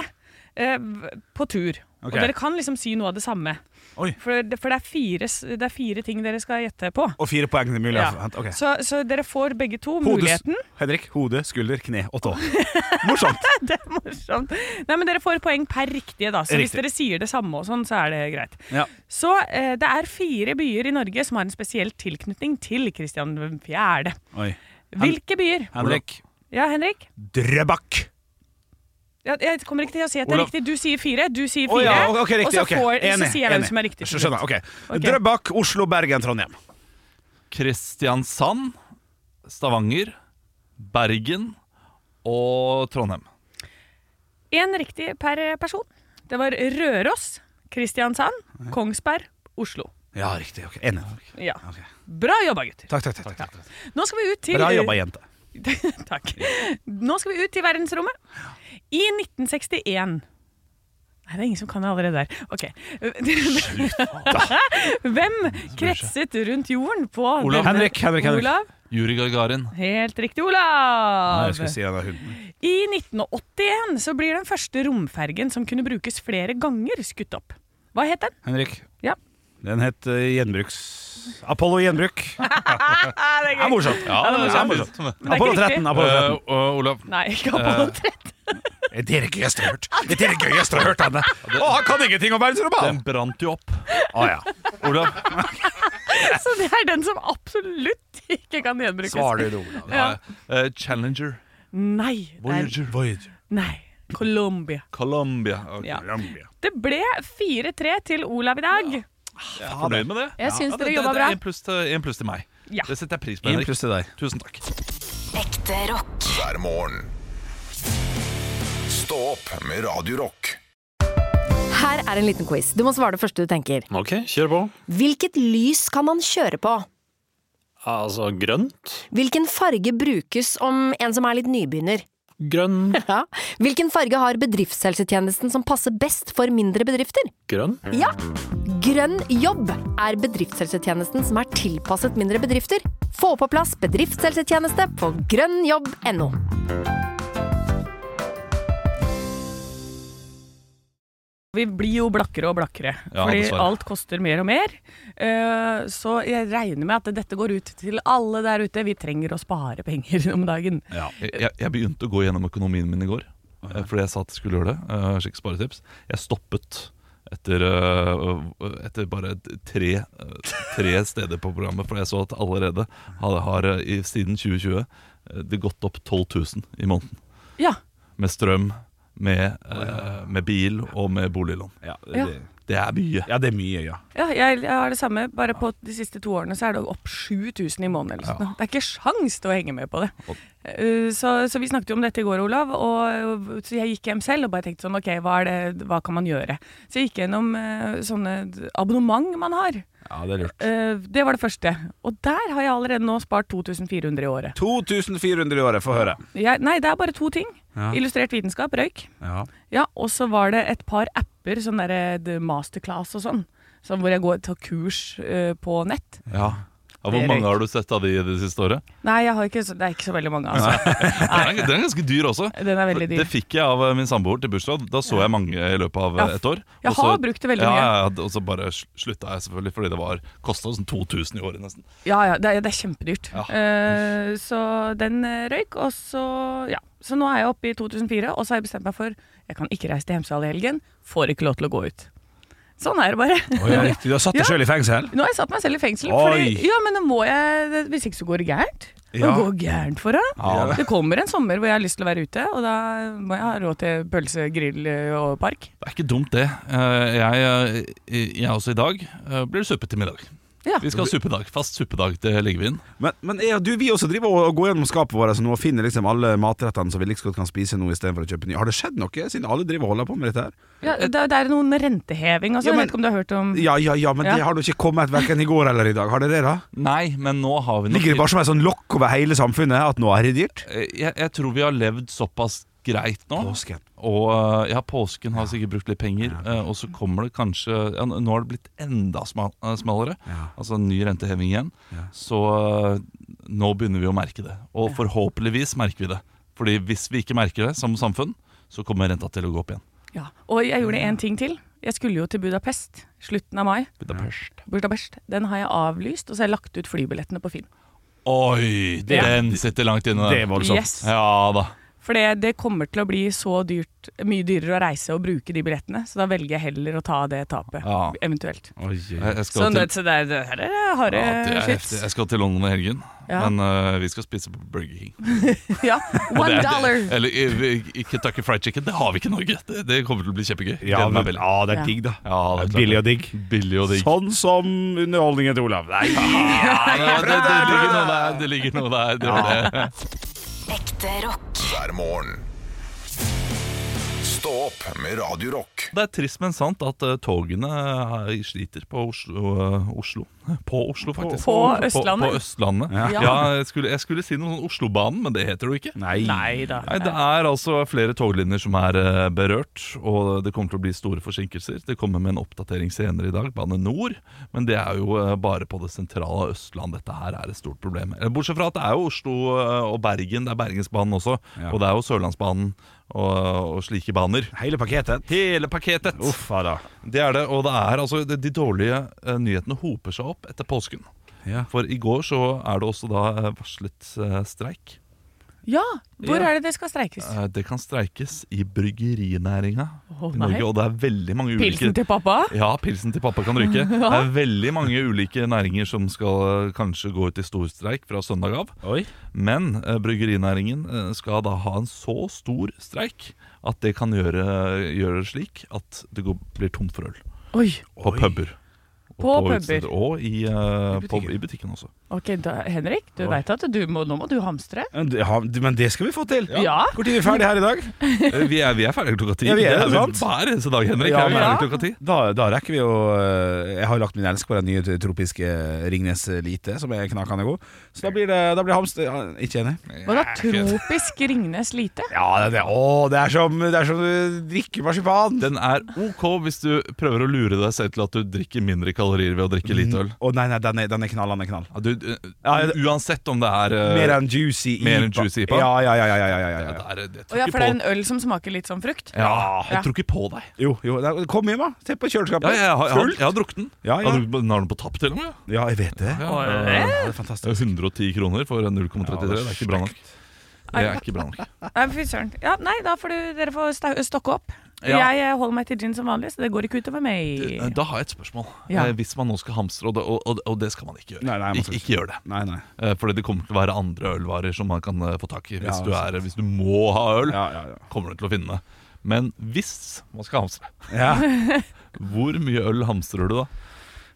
Speaker 3: eh, v- på tur.
Speaker 4: Ok.
Speaker 3: Og dere kan liksom si noe av det samme.
Speaker 4: Oi.
Speaker 3: For, det, for det, er fire, s- det er fire ting dere skal gjette på.
Speaker 4: Og fire poeng er mulig.
Speaker 3: Ja.
Speaker 4: altså. Ok.
Speaker 3: Så, så dere får begge to
Speaker 4: Hodes-
Speaker 3: muligheten.
Speaker 4: Henrik, hode, skulder, kne og tå. Morsomt.
Speaker 3: Det er morsomt. Nei, men dere får poeng per riktige, da. Så hvis
Speaker 4: Riktig.
Speaker 3: dere sier det samme og sånn, så er det greit.
Speaker 4: Ja.
Speaker 3: Så eh, det er fire byer i Norge som har en spesiell tilknytning til Kristian 4.
Speaker 4: Oi.
Speaker 3: Hvilke byer?
Speaker 4: Henrik
Speaker 3: Ja, Henrik?
Speaker 4: Drøbak.
Speaker 3: Ja, jeg kommer ikke til å si at det er
Speaker 5: Olav.
Speaker 3: riktig. Du sier fire, du sier
Speaker 4: Å,
Speaker 3: fire.
Speaker 4: ja, ok, ok, riktig,
Speaker 3: og så,
Speaker 4: ok.
Speaker 3: får,
Speaker 4: Enig,
Speaker 3: så sier jeg hvem
Speaker 4: enig.
Speaker 3: som er riktig. til
Speaker 4: Skjønner.
Speaker 3: slutt.
Speaker 4: ok
Speaker 3: Ok.
Speaker 4: Drøbak, Oslo, Bergen, Trondheim.
Speaker 5: Kristiansand. Stavanger. Bergen. Og Trondheim.
Speaker 3: En riktig per person. Det var Røros, Kristiansand, Kongsberg, Oslo.
Speaker 4: Ja, riktig. ok Enig.
Speaker 3: Ja.
Speaker 4: Ok.
Speaker 3: Bra jobba, gutter.
Speaker 4: Takk, takk, takk. takk, takk.
Speaker 3: Nå skal vi ut til
Speaker 4: Bra jobba, jente.
Speaker 3: Takk. Nå skal vi ut til verdensrommet. I 1961 Nei, det er ingen som kan det allerede der. Ok. Hvem kretset rundt jorden på
Speaker 5: Olav.
Speaker 3: denne-
Speaker 4: Henrik, Henrik, Henrik.
Speaker 3: Olav.
Speaker 5: Juri Gagarin.
Speaker 3: Helt riktig,
Speaker 4: Nei,
Speaker 3: Olav.
Speaker 4: jeg skulle si den der hunden.
Speaker 3: I 1981 så blir den første romfergen som kunne brukes flere ganger, skutt opp. Hva het den?
Speaker 4: Henrik.
Speaker 3: Ja.
Speaker 4: Den het eh, Gjenbruks... Apollo Gjenbruk. Det er morsomt.
Speaker 5: Ja,
Speaker 3: det
Speaker 5: er
Speaker 3: var
Speaker 5: morsomt.
Speaker 3: det er
Speaker 4: Apollo
Speaker 3: ikke
Speaker 4: 13.
Speaker 3: riktig.
Speaker 4: Apollo 13.
Speaker 5: Eh, og Olav.
Speaker 3: Nei, ikke Apollo 13.
Speaker 4: Det er det gøyeste jeg har hørt. Det er det gøyeste jeg har hørt henne. Å, han kan ingenting om verdensrommet!
Speaker 5: Den
Speaker 4: han.
Speaker 5: brant jo opp.
Speaker 4: Å ja.
Speaker 5: Olav.
Speaker 3: Så det er den som absolutt ikke kan gjenbrukes.
Speaker 4: Svarer du, Olav?
Speaker 3: Ja.
Speaker 5: Eh, Challenger.
Speaker 3: Nei. det er-
Speaker 4: Voyager.
Speaker 3: Nei. Colombia.
Speaker 5: Colombia. Ok.
Speaker 3: Ja.
Speaker 4: Colombia.
Speaker 3: Det ble 4-3 til Olav i dag.
Speaker 5: Jeg er fornøyd med det.
Speaker 3: Jeg syns dere
Speaker 5: det,
Speaker 3: jobba
Speaker 5: det, det
Speaker 3: bra.
Speaker 5: er en pluss, til, en pluss til meg.
Speaker 3: Ja.
Speaker 5: Det setter jeg pris på.
Speaker 4: En
Speaker 5: Henrik.
Speaker 4: pluss til deg.
Speaker 5: Tusen takk.
Speaker 6: Ekte rock.
Speaker 2: hver morgen. Stå opp med Radio Rock.
Speaker 8: Her er en liten quiz. Du må svare det første du tenker.
Speaker 9: Ok, kjør på.
Speaker 8: Hvilket lys kan man kjøre på?
Speaker 9: Altså grønt.
Speaker 8: Hvilken farge brukes om en som er litt nybegynner?
Speaker 9: Grønn.
Speaker 8: Ja. Hvilken farge har bedriftshelsetjenesten som passer best for mindre bedrifter?
Speaker 9: Grønn.
Speaker 8: Ja! Grønn jobb er bedriftshelsetjenesten som er tilpasset mindre bedrifter. Få på plass bedriftshelsetjeneste på grønnjobb.no.
Speaker 3: Vi blir jo blakkere og blakkere,
Speaker 5: Ja,
Speaker 3: fordi
Speaker 5: dessverre.
Speaker 3: alt koster mer og mer. Eh, Så jeg regner med at dette går ut til alle der ute. Vi trenger å spare penger om dagen.
Speaker 5: Jeg, jeg- jeg begynte å gå gjennom økonomien min i går, eh, fordi jeg sa at jeg skulle gjøre det. eh, Sjekk sparetips. Jeg stoppet etter, eh, etter bare tre, eh, tre steder på programmet, for jeg så at allerede har, har eh, i- siden 2020 eh, det gått opp 12 000 i måneden.
Speaker 3: Ja,
Speaker 5: Med strøm, med, eh, med bil og med boliglån.
Speaker 4: Ja,
Speaker 3: Ja.
Speaker 4: det,
Speaker 5: Det er mye.
Speaker 4: ja, det er mye, ja.
Speaker 3: ja jeg, jeg har det samme. Bare på de siste to årene så er det opp 7000 i måneden. Eller sånt. Det er ikke sjans til å henge med på det. Eh, Så, så vi snakket jo om dette i går, Olav. Og, og- så jeg gikk hjem selv og bare tenkte sånn, ok, hva, er det, hva kan man gjøre? Så jeg gikk gjennom eh, sånne abonnement man har.
Speaker 4: Ja, det er lurt.
Speaker 3: Eh, det var det første. Og der har jeg allerede nå spart 2400 i året.
Speaker 4: 2400 i året, få høre.
Speaker 3: Jeg, nei, det er bare to ting.
Speaker 4: Ja.
Speaker 3: Illustrert vitenskap, røyk.
Speaker 4: Ja.
Speaker 3: Ja, og så var det et par apper, sånn derre The masterclass og sånn. Sånn hvor jeg går tar kurs eh, på nett.
Speaker 5: Ja,
Speaker 3: Det
Speaker 5: hvor
Speaker 3: er
Speaker 5: mange
Speaker 3: røyk.
Speaker 5: har du sett av de i det siste året?
Speaker 3: Nei, jeg har ikke, så- det er ikke så veldig mange, altså.
Speaker 5: Den er, den er ganske dyr også.
Speaker 3: Den er veldig dyr.
Speaker 5: Det fikk jeg av eh, min samboer til bursdag. Da så jeg mange i løpet av
Speaker 3: Ja,
Speaker 5: eh, et år.
Speaker 3: jeg
Speaker 5: Og
Speaker 3: har brukt det veldig
Speaker 5: ja,
Speaker 3: mye.
Speaker 5: Ja, ja, og så bare sl- slutta jeg selvfølgelig, fordi det var kosta sånn 2000 i året nesten.
Speaker 3: Ja, ja, det er, det er kjempedyrt.
Speaker 5: Ja.
Speaker 3: Eh, så den eh, røyk, og så Ja. Så nå er jeg oppe i 2004, og så har jeg bestemt meg for jeg kan ikke reise til Hemsedal i helgen. Får ikke lov til å gå ut. Sånn er det bare.
Speaker 4: Oi, ja, riktig. Du har satt deg
Speaker 3: Ja.
Speaker 4: sjøl i fengsel?
Speaker 3: Nå har jeg satt meg selv i fengsel.
Speaker 4: Oi.
Speaker 3: Fordi, ja, men nå må jeg, det- Hvis ikke så går det gærent. Hva
Speaker 4: Ja.
Speaker 3: går gærent for deg?
Speaker 4: Ja.
Speaker 3: Det kommer en sommer hvor jeg har lyst til å være ute, og da må jeg ha råd til pølse, grill eh, og park.
Speaker 5: Det er ikke dumt, det. Eh, Jeg, eh, jeg også i dag eh, blir suppe til middag.
Speaker 3: Ja.
Speaker 5: Vi skal ha suppedag. Fast suppedag, det legger vi inn.
Speaker 4: Men, men ja, du, vi også driver og og går gjennom skapet vårt nå og finner liksom alle matrettene som vi like så godt kan spise nå istedenfor å kjøpe nye. Har det skjedd noe, siden alle driver og holder på med dette her?
Speaker 3: Ja, det, er- det er noe med renteheving og sånn. Jeg
Speaker 4: Ja, men-
Speaker 3: vet ikke om du har hørt om
Speaker 4: Ja, ja, ja, men
Speaker 3: Ja.
Speaker 4: det har du ikke kommet verken i går eller i dag. Har det det, da?
Speaker 5: Nei, men nå har vi nok
Speaker 4: Ligger det bare som et sånn lokk over hele samfunnet at nå er det dyrt?
Speaker 5: Eh, jeg, jeg tror vi har levd såpass greit nå.
Speaker 4: Påsken.
Speaker 5: Og eh, ja, påsken har sikkert brukt litt penger, eh, og så kommer det kanskje ja, Nå har det blitt enda smal, eh, smalere,
Speaker 4: Ja.
Speaker 5: altså en ny renteheving igjen.
Speaker 4: Ja.
Speaker 5: Så eh, nå begynner vi å merke det. Og forhåpentligvis merker vi det. Fordi hvis vi ikke merker det som samfunn, så kommer renta til å gå opp igjen.
Speaker 3: Ja, og jeg gjorde en ting til. Jeg skulle jo til Budapest slutten av mai.
Speaker 5: Budapest.
Speaker 3: Budapest. Den har jeg avlyst, og så har jeg lagt ut flybillettene på Finn.
Speaker 5: Oi, den sitter langt inne.
Speaker 4: Det er voldsomt.
Speaker 3: Yes.
Speaker 5: Ja da.
Speaker 3: For det, det kommer til å bli så dyrt, mye dyrere å reise og bruke de billettene, så da velger jeg heller å ta det tapet,
Speaker 5: Ja.
Speaker 3: eventuelt.
Speaker 4: Oi,
Speaker 5: Jeg, jeg skal
Speaker 3: Sånn, det,
Speaker 5: til,
Speaker 3: så det, er- det her er harde
Speaker 5: ja, det er
Speaker 3: shits.
Speaker 5: heftig. Jeg skal til London i helgen,
Speaker 3: Ja.
Speaker 5: men eh, vi skal spise på Burger King.
Speaker 3: Ja,
Speaker 5: Det
Speaker 3: one
Speaker 5: er-
Speaker 3: dollar.
Speaker 5: Det, eller i- i- i Kentucky Fried Chicken. Det har vi ikke i Norge. Det, det kommer til å bli kjempegøy.
Speaker 4: Ja,
Speaker 5: Gleder meg
Speaker 4: men,
Speaker 5: veldig.
Speaker 4: ja, det
Speaker 3: Ja.
Speaker 4: er digg, da.
Speaker 5: Ja, det er klart.
Speaker 4: Billig og digg.
Speaker 5: Billig og digg.
Speaker 4: Sånn som underholdningen til Olav. Nei,
Speaker 5: Ja, det, det, det ligger noe der. Det ligger noe der. Det var det.
Speaker 6: Ekte rock.
Speaker 2: hver morgen. Stå opp med Radio Rock.
Speaker 5: Det er trist, men sant at eh, togene eh, sliter på Oslo, eh, Oslo. På Oslo, faktisk.
Speaker 3: På
Speaker 5: På,
Speaker 3: Østlandet.
Speaker 5: på Østlandet. Ja, jeg, skulle, jeg skulle si noe sånn Oslobanen, men det heter det jo ikke.
Speaker 3: Nei da.
Speaker 5: Nei, Det er altså flere toglinjer som er eh, berørt, og det kommer til å bli store forsinkelser. Det kommer med en oppdatering senere i dag, Bane Nor, men det er jo eh, bare på det sentrale Østland dette her er et stort problem. Eh, Bortsett fra at det er jo Oslo eh, og Bergen, det er Bergensbanen også, og det er jo Sørlandsbanen og, og slike baner.
Speaker 4: Hele pakketet.
Speaker 5: Hele pakketet!
Speaker 4: Uffa da.
Speaker 5: Det er det, og det er altså de de dårlige eh, nyhetene hoper seg opp etter påsken.
Speaker 4: Ja.
Speaker 5: For i går så er det også da eh, varslet eh, streik.
Speaker 3: Ja, hvor
Speaker 5: Ja.
Speaker 3: er det det skal streikes?
Speaker 5: Eh, Det kan streikes i bryggerinæringa
Speaker 3: Å,
Speaker 5: i Norge,
Speaker 3: nei.
Speaker 5: og det er veldig mange ulike
Speaker 3: Pilsen til pappa?
Speaker 5: Ja, pilsen til pappa kan ryke. Det er veldig mange ulike næringer som skal eh, kanskje gå ut i storstreik fra søndag av.
Speaker 4: Oi.
Speaker 5: Men eh, bryggerinæringen eh, skal da ha en så stor streik at det kan gjøre, gjøre det slik at det går, blir tomt for øl
Speaker 3: Oi,
Speaker 5: på puber. Og
Speaker 3: På puber.
Speaker 5: utesteder, Og i, eh,
Speaker 4: I
Speaker 5: på,
Speaker 4: butikken.
Speaker 5: i butikken også.
Speaker 3: ok, da, Henrik, du vet at du må, nå må du hamstre.
Speaker 4: Men det- ja, Men det skal vi få til.
Speaker 3: Ja.
Speaker 4: Hvor tid er vi ferdig her i dag?
Speaker 5: Eh, Vi er, vi er ferdige klokka ti.
Speaker 4: Ja, vi er det,
Speaker 5: det
Speaker 4: sant?
Speaker 5: hver eneste dag, Henrik.
Speaker 4: Ja,
Speaker 5: er vi
Speaker 4: men-
Speaker 5: ferdige klokka ti.
Speaker 4: Da, da rekker vi jo eh, Jeg har jo lagt min elsk på den nye tropiske Ringnes Lite, som er knakende god. Så da blir det da blir hamster ja, Ikke enig?
Speaker 3: Hva da, tropisk Ringnes lite?
Speaker 4: Ja, det, det, å, det, er som, det er som du drikker marsipan.
Speaker 5: Den er ok hvis du prøver å lure deg selv til at du drikker mindre kalorier ved å drikke lite øl.
Speaker 4: Å nei, nei, den er, den er knall, den er knall.
Speaker 5: Ja, du, eh,
Speaker 4: Mm. Ja, det-
Speaker 5: uansett om det er eh,
Speaker 4: Mer enn juicy IPA.
Speaker 5: mer enn juicy IPA?
Speaker 4: Ja, ja, ja, ja, ja, ja,
Speaker 5: ja,
Speaker 4: ja, ja.
Speaker 5: det er, eh, jeg,
Speaker 3: Å
Speaker 5: tror
Speaker 3: ja,
Speaker 5: ikke
Speaker 3: for det
Speaker 5: på,
Speaker 3: er en øl som smaker litt sånn frukt?
Speaker 5: ja,
Speaker 3: Ja.
Speaker 5: jeg tror ikke på deg.
Speaker 4: Jo, jo, nei, kom hjem, da. Se på
Speaker 5: Ja,
Speaker 4: kjøleskapet.
Speaker 5: jeg, har- jeg, har-
Speaker 4: Fullt.
Speaker 5: jeg har drukket den.
Speaker 4: Ja,
Speaker 5: Jeg
Speaker 4: ja.
Speaker 5: har drukket den har den på tapp, til og med.
Speaker 4: Ja, jeg vet det.
Speaker 5: Ja, Eh,
Speaker 4: Ja,
Speaker 5: ja, ja.
Speaker 4: det er
Speaker 5: Det er
Speaker 4: fantastisk.
Speaker 5: 110 kroner for 0,33.
Speaker 4: Ja, det er
Speaker 5: det er ikke bra nok. Det er ikke bra nok.
Speaker 3: Nei, fy søren. Ja, nei, da får du, dere får sta- stokke opp.
Speaker 5: Ja.
Speaker 3: Jeg eh, holder meg til gin som vanlig, så det går ikke
Speaker 5: Eh,
Speaker 3: utover meg.
Speaker 5: Da har jeg et spørsmål.
Speaker 3: Ja.
Speaker 5: Eh, Hvis man nå skal hamstre, og det, og, og, og det skal man ikke gjøre
Speaker 4: Nei, nei, man
Speaker 5: Ikke,
Speaker 4: skal
Speaker 5: ikke gjør det.
Speaker 4: Nei, nei.
Speaker 5: Eh, Fordi det kommer til å være andre ølvarer som man kan eh, få tak i hvis,
Speaker 4: Ja, altså.
Speaker 5: du, er, hvis du må ha øl.
Speaker 4: Ja, ja, ja.
Speaker 5: Kommer du til å finne det. Men hvis man skal hamstre,
Speaker 4: ja.
Speaker 5: hvor mye øl hamstrer du da?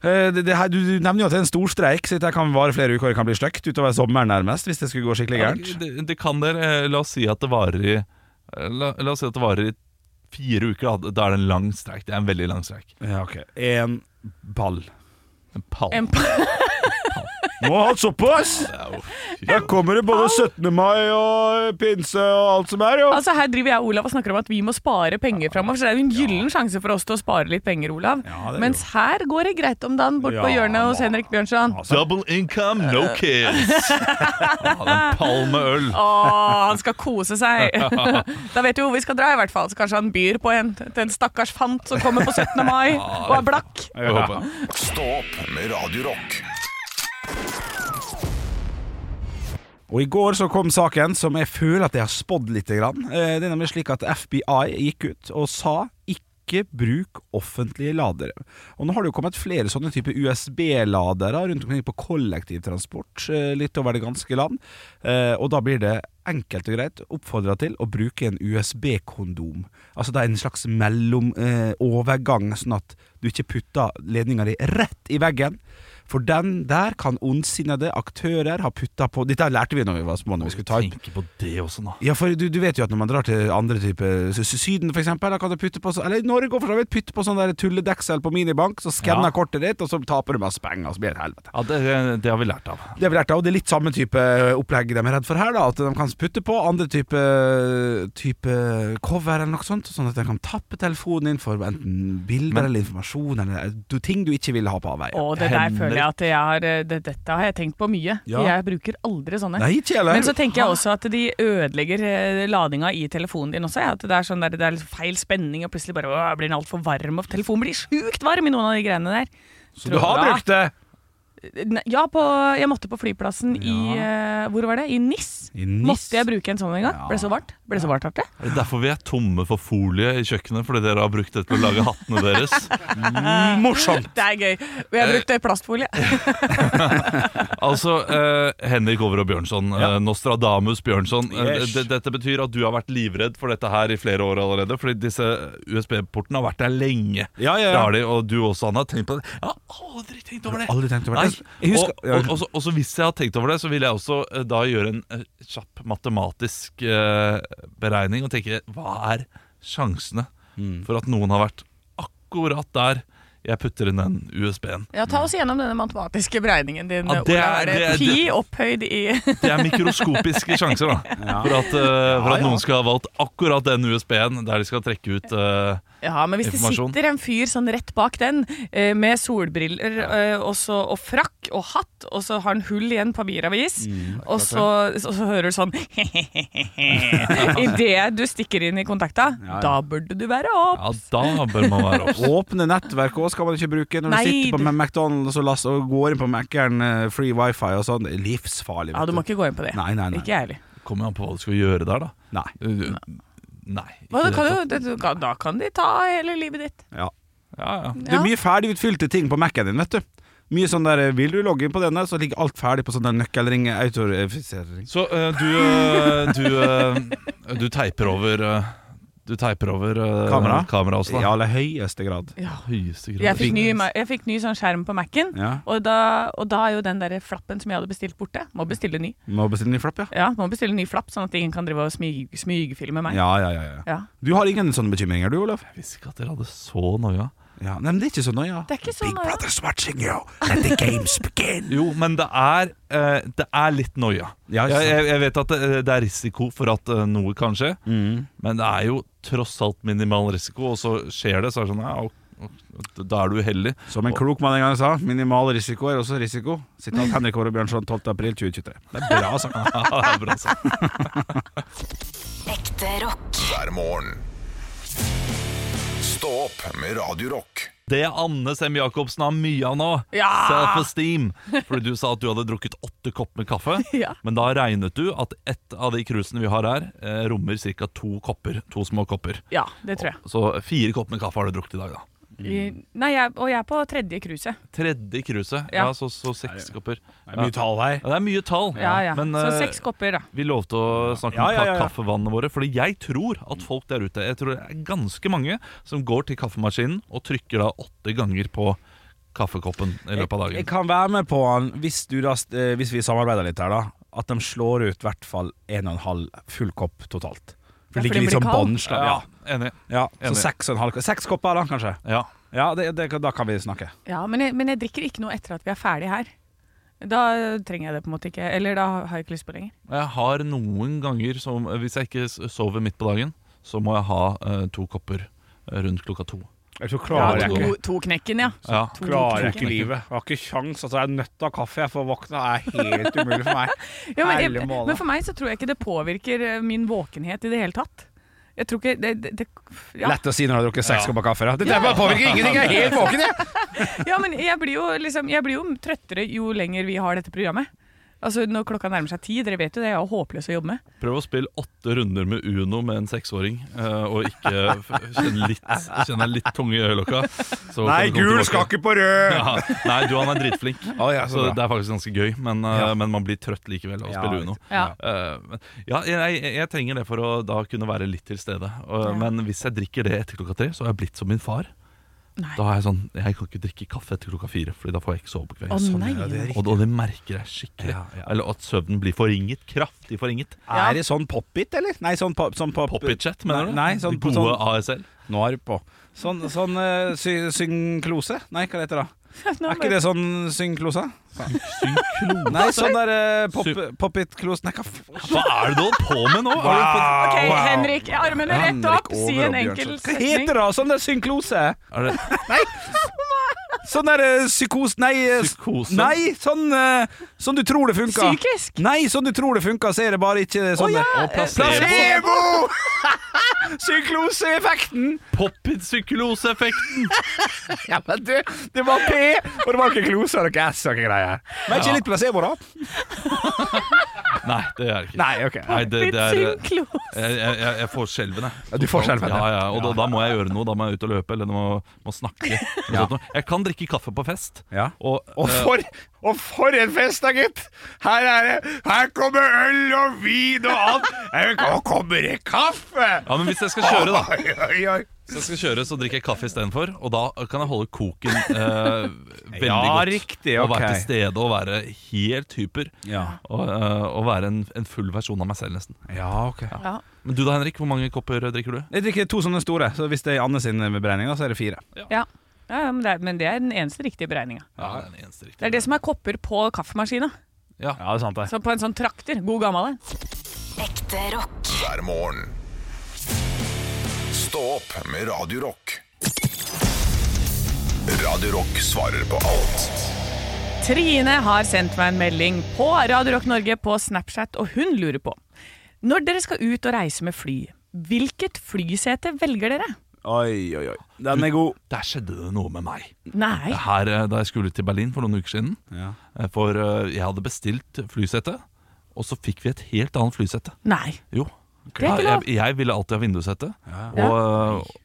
Speaker 4: Eh, Det, det her, du, du nevner jo at det er en stor streik, så dette kan vare flere uker og kan bli stygt utover sommeren nærmest, hvis det skulle gå skikkelig gærent.
Speaker 5: Ja, Det, det kan dere. eh, La oss si at det varer i eh, La, la oss si at det varer i fire uker. Da, da er det en lang streik. Det er en veldig lang streik.
Speaker 4: Ja, ok. En ball.
Speaker 5: En pall.
Speaker 3: En p-
Speaker 4: Må ha hatt såpass! Her kommer det både 17. mai og pinse og alt som er, jo.
Speaker 3: Altså Her driver jeg og Olav og snakker om at vi må spare penger framover. Så det er jo en gyllen sjanse for oss til å spare litt penger, Olav.
Speaker 4: Ja, det er
Speaker 3: Mens her går det greit om dagen bort på
Speaker 4: Ja,
Speaker 3: hjørnet hos Henrik Bjørnson.
Speaker 5: Double income, no
Speaker 3: Eh.
Speaker 5: kids. Ja, en pall med øl.
Speaker 3: Å, han skal kose seg! da vet vi hvor vi skal dra, i hvert fall. Så kanskje han byr på en til en stakkars fant som kommer på 17. mai og er blakk.
Speaker 5: Jeg håper.
Speaker 2: Stå opp med Radio Rock.
Speaker 4: Og i går så kom saken som jeg føler at jeg har spådd litt. Grann. Eh, Det er nemlig slik at FBI gikk ut og sa ikke bruk offentlige ladere. Og nå har det jo kommet flere sånne type USB-ladere rundt omkring på kollektivtransport eh, litt over det ganske land. Eh, Og da blir det enkelt og greit oppfordra til å bruke en USB-kondom. Altså det er en slags mellomovergang, sånn at du ikke putter ledninga di rett i veggen. For den der kan ondsinnede aktører ha putta på Dette lærte vi når vi var små. Når vi skulle ta ut
Speaker 5: Tenk på det også nå.
Speaker 4: ja, for du, du vet jo at når man drar til andre typer s- s- Syden for eksempel Da kan du putte på så- Eller i Norge også, for så vidt Putte på sånn der tulledeksel på minibank Så skanner
Speaker 5: Ja.
Speaker 4: kortet ditt Og så taper du masse penger Og så blir det et helvete
Speaker 5: Ja, det, det har vi lært av.
Speaker 4: det er vel hjertet, og det er litt samme type eh, opplegg de er redd for her, da, at de kan putte på andre type, type cover eller noe sånt, sånn at de kan tappe telefonen din for enten bilder
Speaker 5: Men-
Speaker 4: eller informasjon, eller eh, du- ting du ikke vil ha på avveie.
Speaker 3: Og det der føler jeg at jeg har eh, det, Dette har jeg tenkt på mye.
Speaker 4: Ja.
Speaker 3: Jeg bruker aldri sånne.
Speaker 4: Nei, ikke heller.
Speaker 3: Men så tenker jeg også at de ødelegger eh, ladinga i telefonen din også. Ja. At det er, sånn der, det er liksom feil spenning, og plutselig bare «Åh, blir den altfor varm. Og telefonen blir sjukt varm i noen av de greiene der.
Speaker 4: Så du har brukt det?
Speaker 3: Eh, Ne- Ja, på, jeg måtte på flyplassen i eh, Hvor var det? I NIS.
Speaker 4: I NIS?
Speaker 3: Måtte jeg bruke en sånn en gang.
Speaker 4: Ja.
Speaker 3: Ble så varmt. Ble så varmt, Arte.
Speaker 5: Er det derfor vi er tomme for folie i kjøkkenet? Fordi dere har brukt det til å lage hattene deres?
Speaker 4: Morsomt!
Speaker 3: Det er gøy. Og jeg brukte plastfolie.
Speaker 5: Altså, eh, Henrik Over og Bjørnson, eh, Nostradamus Bjørnson. eh,
Speaker 4: Yes.
Speaker 5: d- dette betyr at du har vært livredd for dette her i flere år allerede. Fordi disse USB-portene har vært der lenge.
Speaker 4: Ja, ja,
Speaker 5: Det
Speaker 4: ja.
Speaker 5: har de, og du også, Anna. Tenk på det. Jeg har aldri tenkt over det.
Speaker 4: Aldri tenkt over det.
Speaker 5: Nei.
Speaker 4: Jeg- jeg husker-
Speaker 5: og, og, og, så- og så hvis jeg hadde tenkt over det, så ville jeg også eh, da gjøre en eh, kjapp matematisk eh, beregning og tenke hva er sjansene for at noen har vært akkurat der jeg putter inn den USB-en.
Speaker 3: Ja, ta oss gjennom denne matematiske beregningen din.
Speaker 5: Ja, det er-
Speaker 3: Ola. Er det
Speaker 5: det er-
Speaker 3: pi opphøyd i
Speaker 5: Det er mikroskopiske sjanser da for at, eh, for at noen skal ha valgt akkurat den USB-en der de skal trekke ut eh,
Speaker 3: Ja, men hvis det
Speaker 5: Informasjon.
Speaker 3: sitter en fyr sånn rett bak den, eh, med solbriller eh, og, så, og frakk og hatt, og så har han hull i en papiravis, og, så, og så hører du sånn Idet du stikker inn i kontakta, da burde du være opp.
Speaker 5: Ja, da bør man være obs.
Speaker 4: Åpne nettverk også skal man ikke bruke når
Speaker 3: Nei,
Speaker 4: du sitter
Speaker 3: du-
Speaker 4: på McDonald's og, laster, og går inn på Mac-eren, eh, free wifi og sånn. Det er Livsfarlig.
Speaker 3: Ja, du må ikke gå inn på det.
Speaker 4: Nei, nei, nei.
Speaker 3: Ikke jeg heller.
Speaker 5: Kommer an på hva du skal gjøre der, da.
Speaker 4: Nei.
Speaker 5: Eh, Nei. ikke
Speaker 3: Hva, da,
Speaker 5: det
Speaker 3: kan
Speaker 5: hele
Speaker 3: du, det, du kan- da kan de ta hele livet ditt.
Speaker 4: Ja.
Speaker 5: tatt. ja, ja.
Speaker 4: Det
Speaker 3: Ja.
Speaker 4: er mye ferdig utfylte ting på Mac-en din, vet du. Mye sånn der eh, Vil du logge inn på denne, så ligger alt ferdig på sånn der nøkkelring autorifisering.
Speaker 5: Så eh, du, eh, du, eh, du teiper over eh, Du teiper over eh,
Speaker 4: Kamera?
Speaker 5: kamera også, da.
Speaker 4: I aller høyeste grad.
Speaker 5: Høyeste grad.
Speaker 3: Jeg fikk ny, ma- jeg fikk ny sånn skjerm på Mac-en,
Speaker 4: Ja.
Speaker 3: og, da, og da er jo den der flappen som jeg hadde bestilt, borte. Må bestille ny.
Speaker 4: Må bestille ny flapp, ja.
Speaker 3: Ja, må bestille ny flapp, sånn at ingen kan drive og smyg, smygfilme meg.
Speaker 4: Ja, ja, ja, ja.
Speaker 3: Ja.
Speaker 4: Du har ingen sånne bekymringer, du, Olav?
Speaker 5: Jeg visste ikke at dere hadde så noia.
Speaker 4: Ja. Nei, men det er ikke så nøye.
Speaker 3: Det er ikke så
Speaker 4: Big
Speaker 3: nøye.
Speaker 4: Brother's watching you, let the games begin.
Speaker 5: Jo, men det er, eh, det er litt noia.
Speaker 4: Ja,
Speaker 5: jeg,
Speaker 4: sant.
Speaker 5: jeg, jeg vet at eh, det, det er risiko for at eh,
Speaker 4: Mm.
Speaker 5: noe kan skje, men det er jo tross alt minimal risiko, og så skjer det, så er det sånn ja, ok, Da er du uheldig.
Speaker 4: Som en klok mann en gang sa, minimal risiko er også risiko. Sitat Henrik Åre Bjørnson 12. april 2023. Det er bra altså. sagt.
Speaker 5: Ja, det er bra sagt.
Speaker 6: Ekte rock.
Speaker 2: hver morgen. Stå opp med Radio Rock.
Speaker 5: Det Anne Sem Jacobsen har mye av nå,
Speaker 3: Ja!
Speaker 5: self-esteem. Fordi du sa at du hadde drukket åtte kopper med kaffe.
Speaker 3: Ja.
Speaker 5: Men da regnet du at ett av de krusene vi har her, eh, rommer ca. to kopper. To små kopper.
Speaker 3: Ja, det tror jeg.
Speaker 5: Så fire kopper med kaffe har du drukket i dag, da.
Speaker 3: I- Nei, jeg, og jeg er på tredje cruiset.
Speaker 5: Tredje kruset.
Speaker 3: Ja.
Speaker 5: Ja, så, så seks kopper.
Speaker 4: Det er mye tall her.
Speaker 5: Ja, det er mye tall.
Speaker 3: Ja, ja.
Speaker 5: Men
Speaker 3: så
Speaker 5: eh,
Speaker 3: seks kopper, da.
Speaker 5: vi lovte å snakke om
Speaker 4: Ja, ja, ja, ja.
Speaker 5: kaffevannene våre. Fordi jeg tror at folk der ute Jeg tror det er ganske mange som går til kaffemaskinen og trykker da åtte ganger på kaffekoppen
Speaker 3: Eh,
Speaker 5: i løpet av
Speaker 4: Jeg, jeg
Speaker 5: dagen.
Speaker 4: kan være med på han hvis, du da, eh, hvis vi samarbeider litt her, da. At de slår ut i hvert fall en og en halv full kopp totalt. For
Speaker 3: Ja, for
Speaker 4: det
Speaker 3: den
Speaker 4: ligger
Speaker 3: blir
Speaker 4: liksom
Speaker 3: kald.
Speaker 4: bånnslag. Ja.
Speaker 5: Enig.
Speaker 4: Ja, så
Speaker 5: Enig.
Speaker 4: seks og en halv kopp- Seks kopper, da, kanskje.
Speaker 5: Ja.
Speaker 4: Ja, det, det, Da kan vi snakke.
Speaker 3: Ja, men jeg, men jeg drikker ikke noe etter at vi er ferdig her. Da trenger jeg det på en måte ikke. Eller da har jeg ikke lyst på det lenger.
Speaker 5: Jeg har noen ganger, som, hvis jeg ikke s- sover midt på dagen, så må jeg ha eh, to kopper eh, rundt klokka to.
Speaker 4: Jeg tror
Speaker 3: Ja,
Speaker 4: klarer jeg
Speaker 3: to,
Speaker 4: ikke.
Speaker 3: to knekken, ja.
Speaker 5: Ja.
Speaker 3: To
Speaker 4: Klarer jeg
Speaker 3: knekken.
Speaker 4: ikke livet. Jeg har ikke kjangs. Altså, jeg er nødt til å ha kaffe. Jeg får våkne. Det er helt umulig for meg.
Speaker 3: Ja, men,
Speaker 4: Ærlig
Speaker 3: jeg,
Speaker 4: målet.
Speaker 3: men for meg så tror jeg ikke det påvirker eh, min våkenhet i det hele tatt. Jeg tror ikke det, det, det ja.
Speaker 4: Lett å si når du har drukket seks kopper kaffe. Da. Det der bare påvirker ingenting. Jeg er helt våken, jeg.
Speaker 3: ja, men jeg blir, jo, liksom, jeg blir jo trøttere jo lenger vi har dette programmet. Altså Når klokka nærmer seg ti. Dere vet jo det, jeg er jo håpløs å jobbe med.
Speaker 5: Prøv å spille åtte runder med Uno med en seksåring, eh, og ikke f- kjenne litt, kjenne litt tunge i øyelokka. så kan du komme tilbake.
Speaker 4: ikke på rød.
Speaker 5: ja, Nei, du han er drittflink.
Speaker 4: Å, ja, så
Speaker 5: så
Speaker 4: bra.
Speaker 5: det er faktisk ganske gøy, men, eh, men man blir trøtt likevel av å
Speaker 4: Ja,
Speaker 5: spille Uno.
Speaker 3: Ja.
Speaker 5: Eh, men- ja, jeg, jeg, jeg trenger det for å da kunne være litt til stede. Og,
Speaker 3: Ja.
Speaker 5: Men hvis jeg drikker det etter klokka tre, så har jeg blitt som min far.
Speaker 3: Nei.
Speaker 5: Da er jeg sånn, jeg kan ikke drikke kaffe etter klokka fire, Fordi da får jeg ikke sove på kvelden.
Speaker 3: Å nei.
Speaker 5: Og, da- og sånn, det merker jeg skikkelig.
Speaker 4: Ja, ja.
Speaker 5: Eller at søvnen blir forringet. Kraftig forringet.
Speaker 3: Ja.
Speaker 4: Er det sånn pop-it, eller? Nei, sånn pop... Sånn pop
Speaker 5: Poppet-chat, mener
Speaker 4: nei,
Speaker 5: du?
Speaker 4: Nei,
Speaker 5: De
Speaker 4: sånn,
Speaker 5: gode
Speaker 4: sånn,
Speaker 5: ASL.
Speaker 4: Nå er du på. Sånn, sånn eh, sy synklose? Nei, hva heter det? da?
Speaker 3: Nå
Speaker 4: Er ikke
Speaker 3: bare-
Speaker 4: det sånn synklose?
Speaker 5: Synkrone.
Speaker 4: Nei, sånn der eh, pop-
Speaker 5: Syn-
Speaker 4: pop-it-klose Nei, hva faen?
Speaker 5: Hva er det du holder på med nå? Wow.
Speaker 3: Ok, Henrik, armene rett opp. Si en enkel
Speaker 4: Hva heter det? da? Sånn der synklose?
Speaker 5: Er det
Speaker 4: Sånn der eh, psykos... Nei, eh, s-
Speaker 5: psykose?
Speaker 4: nei sånn, eh, sånn du tror det funka.
Speaker 3: Psykisk?
Speaker 4: Nei, sånn du tror det funka, så er det bare ikke sånn.
Speaker 3: ja.
Speaker 4: det-
Speaker 5: Og placebo.
Speaker 4: Placebo! Sykloseeffekten!
Speaker 5: Poppet-psykoloseeffekten.
Speaker 4: Ja, men du, det var P, og det var ikke klose og noe S og noe greier. Men ikke litt placebo, da?
Speaker 5: Nei, det er det ikke.
Speaker 4: Nei, ok.
Speaker 5: Nei, det,
Speaker 3: Litt
Speaker 5: det er jeg,
Speaker 3: synklo.
Speaker 5: jeg, jeg- jeg får skjelven, jeg.
Speaker 4: Ja, du får skjelven,
Speaker 5: Ja,
Speaker 4: ja.
Speaker 5: ja, og da, da må jeg gjøre noe. Da må jeg ut og løpe, eller må, må snakke. Eller
Speaker 4: Ja.
Speaker 5: sånt noe. Jeg kan drikke kaffe på fest.
Speaker 4: Ja.
Speaker 5: Og,
Speaker 4: Og
Speaker 5: eh,
Speaker 4: for, og for en fest, da, gitt! Her er det Her kommer øl og vin og alt! Jeg- Og kommer det kaffe!
Speaker 5: ja, men hvis jeg skal kjøre, da.
Speaker 4: Oi, oi, oi.
Speaker 5: Hvis jeg skal kjøre, så drikker jeg kaffe istedenfor. Og da kan jeg holde koken eh, veldig
Speaker 4: Ja,
Speaker 5: godt.
Speaker 4: riktig,
Speaker 5: Og være
Speaker 4: ok.
Speaker 5: til stede og være helt hyper.
Speaker 4: Ja.
Speaker 5: Og, eh, og være en, en full versjon av meg selv, nesten.
Speaker 4: Ja, ok.
Speaker 3: Ja.
Speaker 5: Men du da, Henrik, hvor mange kopper drikker du?
Speaker 4: Jeg drikker to sånne store, så hvis det er Anne sin beregning, da, så er det fire.
Speaker 3: Ja. Ja, ja, men, det er, men det er den eneste riktige beregninga.
Speaker 5: Ja, det er den eneste riktige.
Speaker 3: Det er det som er kopper på kaffemaskina.
Speaker 5: Ja.
Speaker 4: Ja, det er sant, det.
Speaker 3: Så på en sånn trakter. God gammel en.
Speaker 6: Ekte rock.
Speaker 2: hver morgen. Stå opp med Radio Rock. Radio Rock svarer på alt
Speaker 3: Trine har sendt meg en melding på Radio Rock Norge på Snapchat, og hun lurer på Når dere skal ut og reise med fly, hvilket flysete velger dere?
Speaker 4: Oi, oi, oi. Den er god.
Speaker 5: Der skjedde det noe med meg.
Speaker 3: Nei.
Speaker 5: Her eh, Da jeg skulle til Berlin for noen uker siden. Eh, For eh, jeg hadde bestilt flysete, og så fikk vi et helt annet flysete.
Speaker 3: Nei.
Speaker 5: Jo.
Speaker 3: er ikke
Speaker 5: Ja,
Speaker 3: lov.
Speaker 5: jeg, jeg ville alltid ha vindussete.
Speaker 3: Ja.
Speaker 5: Og eh,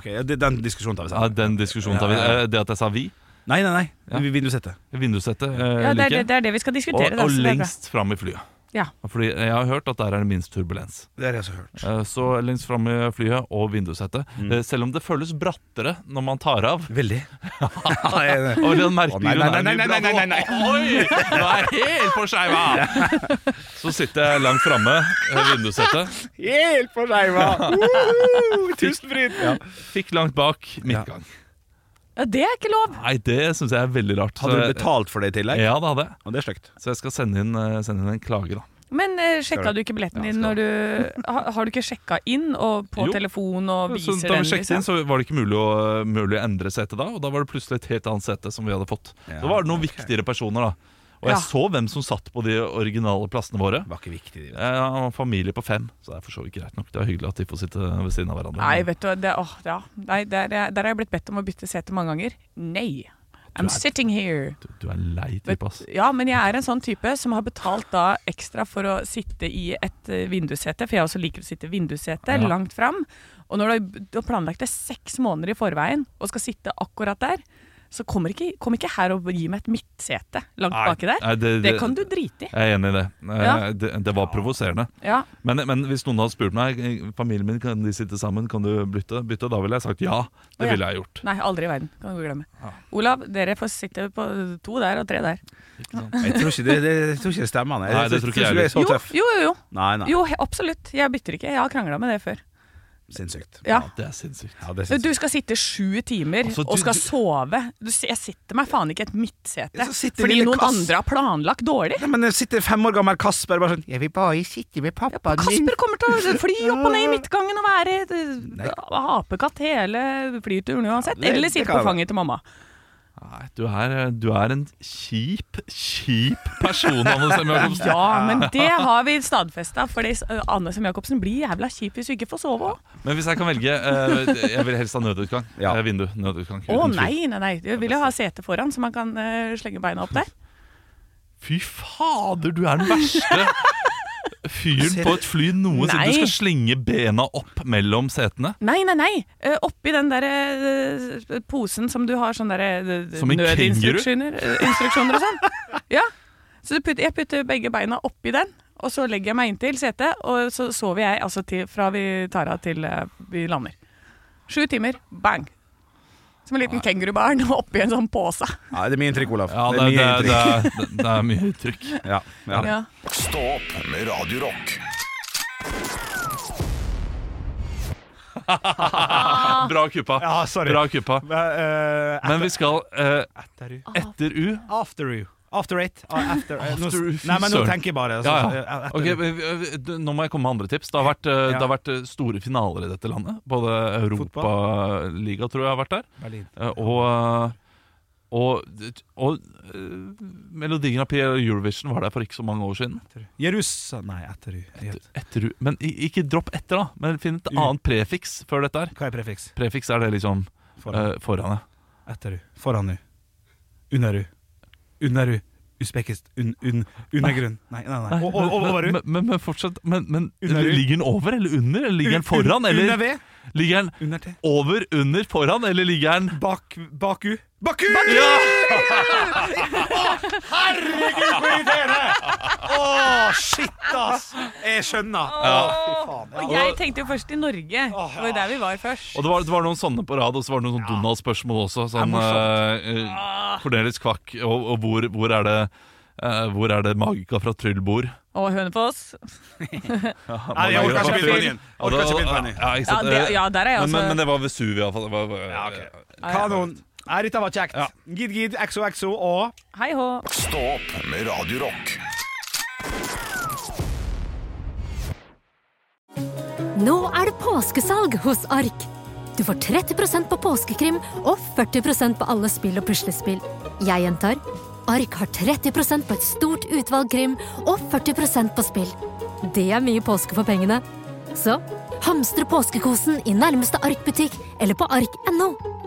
Speaker 4: Ok, ja, det- Den diskusjonen tar vi
Speaker 5: ja,
Speaker 4: sammen.
Speaker 5: den diskusjonen tar vi.
Speaker 4: Ja, ja,
Speaker 5: Eh, Det at jeg sa vi,
Speaker 4: Nei, nei, nei.
Speaker 5: Ja.
Speaker 4: Vi- Vindussette.
Speaker 5: vindussete, eh,
Speaker 3: Ja,
Speaker 5: liker
Speaker 3: det, er, det,
Speaker 5: jeg.
Speaker 3: det er det vi skal
Speaker 5: Og,
Speaker 3: diskutere. da,
Speaker 5: og
Speaker 3: så det er bra.
Speaker 5: lengst fram i flyet.
Speaker 3: Ja.
Speaker 5: Fordi jeg har hørt at der er det minst turbulens.
Speaker 4: Det har jeg også hørt.
Speaker 5: Eh, Så lengst fram i flyet og vindussete.
Speaker 4: Mm.
Speaker 5: Eh, Selv om det føles brattere når man tar av.
Speaker 4: Veldig.
Speaker 5: Og den merkelige
Speaker 4: Å, nei, nei,
Speaker 5: grunnen er
Speaker 4: nei, nei, nei, nei, nei,
Speaker 5: mye brattere. Oi! Du er helt på skeiva! Så sitter jeg langt framme ved vindussettet.
Speaker 4: Helt for skeiva! Woohoo! Tusenfryd! Ja.
Speaker 5: Fikk langt bak midtgang.
Speaker 3: Ja, det er ikke lov.
Speaker 5: Nei, det syns jeg er veldig rart.
Speaker 4: Hadde du
Speaker 5: Så-
Speaker 4: betalt for det i tillegg?
Speaker 5: Ja, det hadde jeg.
Speaker 4: Og det er stygt.
Speaker 5: Så jeg skal sende inn, eh, sende inn en klage, da.
Speaker 3: Men eh, sjekka du ikke billetten din når du ha, Har du ikke sjekka inn og på
Speaker 5: Jo.
Speaker 3: telefon og
Speaker 5: Så
Speaker 3: viser
Speaker 5: da
Speaker 3: den?
Speaker 5: vi sjekket inn,
Speaker 3: Liksom?
Speaker 5: så var det ikke mulig å, mulig å endre setet da. Og da var det plutselig et helt annet sete som vi hadde fått.
Speaker 4: Ja,
Speaker 5: Da var det noen viktigere personer, da. Og jeg
Speaker 3: Ja.
Speaker 5: så hvem som satt på de originale plassene våre.
Speaker 4: Det var ikke viktig.
Speaker 5: Jeg har en familie på fem, så det er for så vidt greit nok. Det er hyggelig at de får sitte ved siden av hverandre.
Speaker 3: Nei, vet du hva, det, åh, ja. Nei, der, er- der har jeg blitt bedt om å bytte sete mange ganger. Nei. I'm sitting here.
Speaker 5: Du, du er en lei type, ass.
Speaker 3: Ja, men jeg er en sånn type som har betalt da ekstra for å sitte i et eh, vindussete, for jeg også liker å sitte i vindussete,
Speaker 5: Ja.
Speaker 3: langt fram. Og når du har- du har planlagt det seks måneder i forveien og skal sitte akkurat der, så kommer ikke, kom ikke her og gi meg et midtsete langt baki der.
Speaker 5: Nei, det,
Speaker 3: det kan du drite i.
Speaker 5: Jeg er enig i det. Eh,
Speaker 3: Ja.
Speaker 5: Det, det var provoserende.
Speaker 3: Ja.
Speaker 5: Men, men hvis noen hadde spurt meg Familien min, kan de sitte sammen, kan du bytte, bytte da ville jeg sagt ja.
Speaker 3: Å,
Speaker 5: Det
Speaker 3: ja.
Speaker 5: ville jeg gjort.
Speaker 3: Nei, aldri i verden. Kan du glemme. Olav, dere får sitte på to der og tre der.
Speaker 4: Jeg tror ikke det, det, jeg tror ikke det stemmer.
Speaker 5: Nei, det tror ikke jeg
Speaker 4: du er så
Speaker 3: Jo, jo,
Speaker 4: tøff.
Speaker 3: jo. jo.
Speaker 4: Nei, nei.
Speaker 3: jo he- absolutt. Jeg bytter ikke. Jeg har krangla med det før.
Speaker 4: Sinnssykt.
Speaker 3: Ja.
Speaker 5: Det er sinnssykt.
Speaker 4: Ja, det er
Speaker 3: Du
Speaker 4: sinnssykt.
Speaker 3: skal sitte sju timer
Speaker 5: Altså, du-
Speaker 3: og skal
Speaker 5: du-
Speaker 3: sove. Du, s- jeg sitter meg faen ikke i et midtsete
Speaker 4: Ja, så sitter
Speaker 3: fordi
Speaker 4: lille
Speaker 3: noen
Speaker 4: Kass-
Speaker 3: andre har planlagt dårlig.
Speaker 4: Nei, men jeg sitter fem år gammel Kasper bare sånn 'Jeg vil bare sitte med pappa
Speaker 3: Kasper kommer til å fly opp og ned i midtgangen og være eh, apekatt hele flyturen uansett.
Speaker 4: det-
Speaker 3: Eller
Speaker 4: det
Speaker 3: sitte på
Speaker 4: kan være.
Speaker 3: fanget til mamma.
Speaker 5: Nei, du er, du er en kjip, kjip person, Anne Sem Jacobsen.
Speaker 3: Ja, men det har vi stadfesta, for Anne Sem Jacobsen blir jævla kjip hvis hun ikke får sove òg.
Speaker 5: Men hvis jeg kan velge eh, Jeg vil helst ha nødutgang.
Speaker 4: Ja.
Speaker 5: Eh, Vindu. Nødutgang. uten
Speaker 3: Å
Speaker 5: tvil.
Speaker 3: nei, nei, nei. Du vil jo ha sete foran, så man kan eh, slenge beina opp der.
Speaker 5: Fy fader, du er den verste fyren på et fly noensinne. Du
Speaker 3: Nei.
Speaker 5: skal slenge bena opp mellom setene.
Speaker 3: Nei, nei, nei. Eh, oppi den der eh, posen som du har sånn derre
Speaker 5: Som en
Speaker 3: nødinstruksjoner eh, instruksjoner og sånn. Ja. Så du putter, jeg putter begge beina oppi den, og så legger jeg meg inntil setet, og så sover jeg altså til, fra vi tar av til eh, vi lander. Sju timer. Bang. Som en liten kengurubarn oppi en sånn pose.
Speaker 4: Ja, det er mye inntrykk, Olav.
Speaker 5: Ja,
Speaker 4: det er mye
Speaker 5: det,
Speaker 4: inntrykk.
Speaker 5: er- det, det er mye trykk.
Speaker 4: Ja, ja.
Speaker 3: Ja.
Speaker 2: Stå opp med Radio Rock.
Speaker 5: Bra kuppa.
Speaker 4: Ja, sorry.
Speaker 5: Bra kuppa. Men vi skal eh,
Speaker 4: Etter U.
Speaker 5: etter U.
Speaker 4: After U. After eight. Ah, After, eh, nå-
Speaker 5: After U, fy
Speaker 4: Nei, men nå
Speaker 5: søren.
Speaker 4: tenker jeg bare.
Speaker 5: Ja,
Speaker 4: altså,
Speaker 5: ja.
Speaker 4: eh, etter
Speaker 5: Ok,
Speaker 4: U.
Speaker 5: vi- vi- vi- du, nå må jeg komme med andre tips. Det har vært, eh,
Speaker 4: Ja.
Speaker 5: det har vært eh, store finaler i dette landet. Både Europaliga, tror jeg, har vært der.
Speaker 4: Berlin.
Speaker 5: Eh, Og, og, og eh, Melodi Grand Prix og Eurovision var der for ikke så mange år siden.
Speaker 4: Jerus... Nei, etter U.
Speaker 5: Etter, men i- ikke dropp etter, da. Men finn et
Speaker 4: U.
Speaker 5: annet prefiks før dette her.
Speaker 4: Hva er prefiks?
Speaker 5: Prefiks er det liksom
Speaker 4: Foran.
Speaker 5: eh, foran. ja.
Speaker 4: Etter U. Foran U. Under U. Under U. Usbekist. Un, un, undergrunn. Nei, nei, nei. O- o- Over U.
Speaker 5: Men, men, men fortsatt Men, men
Speaker 4: Under U.
Speaker 5: ligger den over eller under? Eller ligger den foran?
Speaker 4: Under
Speaker 5: Eller
Speaker 4: V.
Speaker 5: ligger den
Speaker 4: Under T.
Speaker 5: over, under, foran? Eller ligger den
Speaker 4: Bak, bak U. Bak U!
Speaker 5: Ja!
Speaker 4: Herregud, for irriterende! Å, shit, ass! Jeg skjønner. Å, fy faen.
Speaker 3: Og jeg tenkte jo først i Norge. Det var jo der vi var først.
Speaker 5: Og det var, det var noen sånne på rad, og så var det noen sånne Donald-spørsmål også. Sånn eh, eh,
Speaker 3: Ah.
Speaker 5: Cornelis Kvakk, og, og hvor, hvor er det eh, Hvor er det Magica fra Tryll bor?
Speaker 3: Og Hønefoss.
Speaker 4: Nei, jeg orker ikke begynne på den igjen.
Speaker 5: Ja, det-
Speaker 4: Orker ikke begynne på den igjen.
Speaker 5: ja, ikke
Speaker 3: Ja,
Speaker 5: sant?
Speaker 3: det, ja, der er jeg
Speaker 5: men, men, men
Speaker 3: også.
Speaker 5: det var Vesuvia, i hvert fall. Det var-
Speaker 4: Ja, ok. Kanon. Nei, dette var kjekt.
Speaker 5: Ja.
Speaker 4: Gid, gid, exo, og
Speaker 3: Hei hå.
Speaker 2: Stå opp med Radio Rock.
Speaker 6: Nå er det påskesalg hos Ark. Du får 30 på påskekrim og 40 på alle spill og puslespill. Jeg gjentar Ark har 30 på et stort utvalg krim og 40 på spill. Det er mye påske for pengene. Så hamstre påskekosen i nærmeste Ark-butikk eller på ark.no.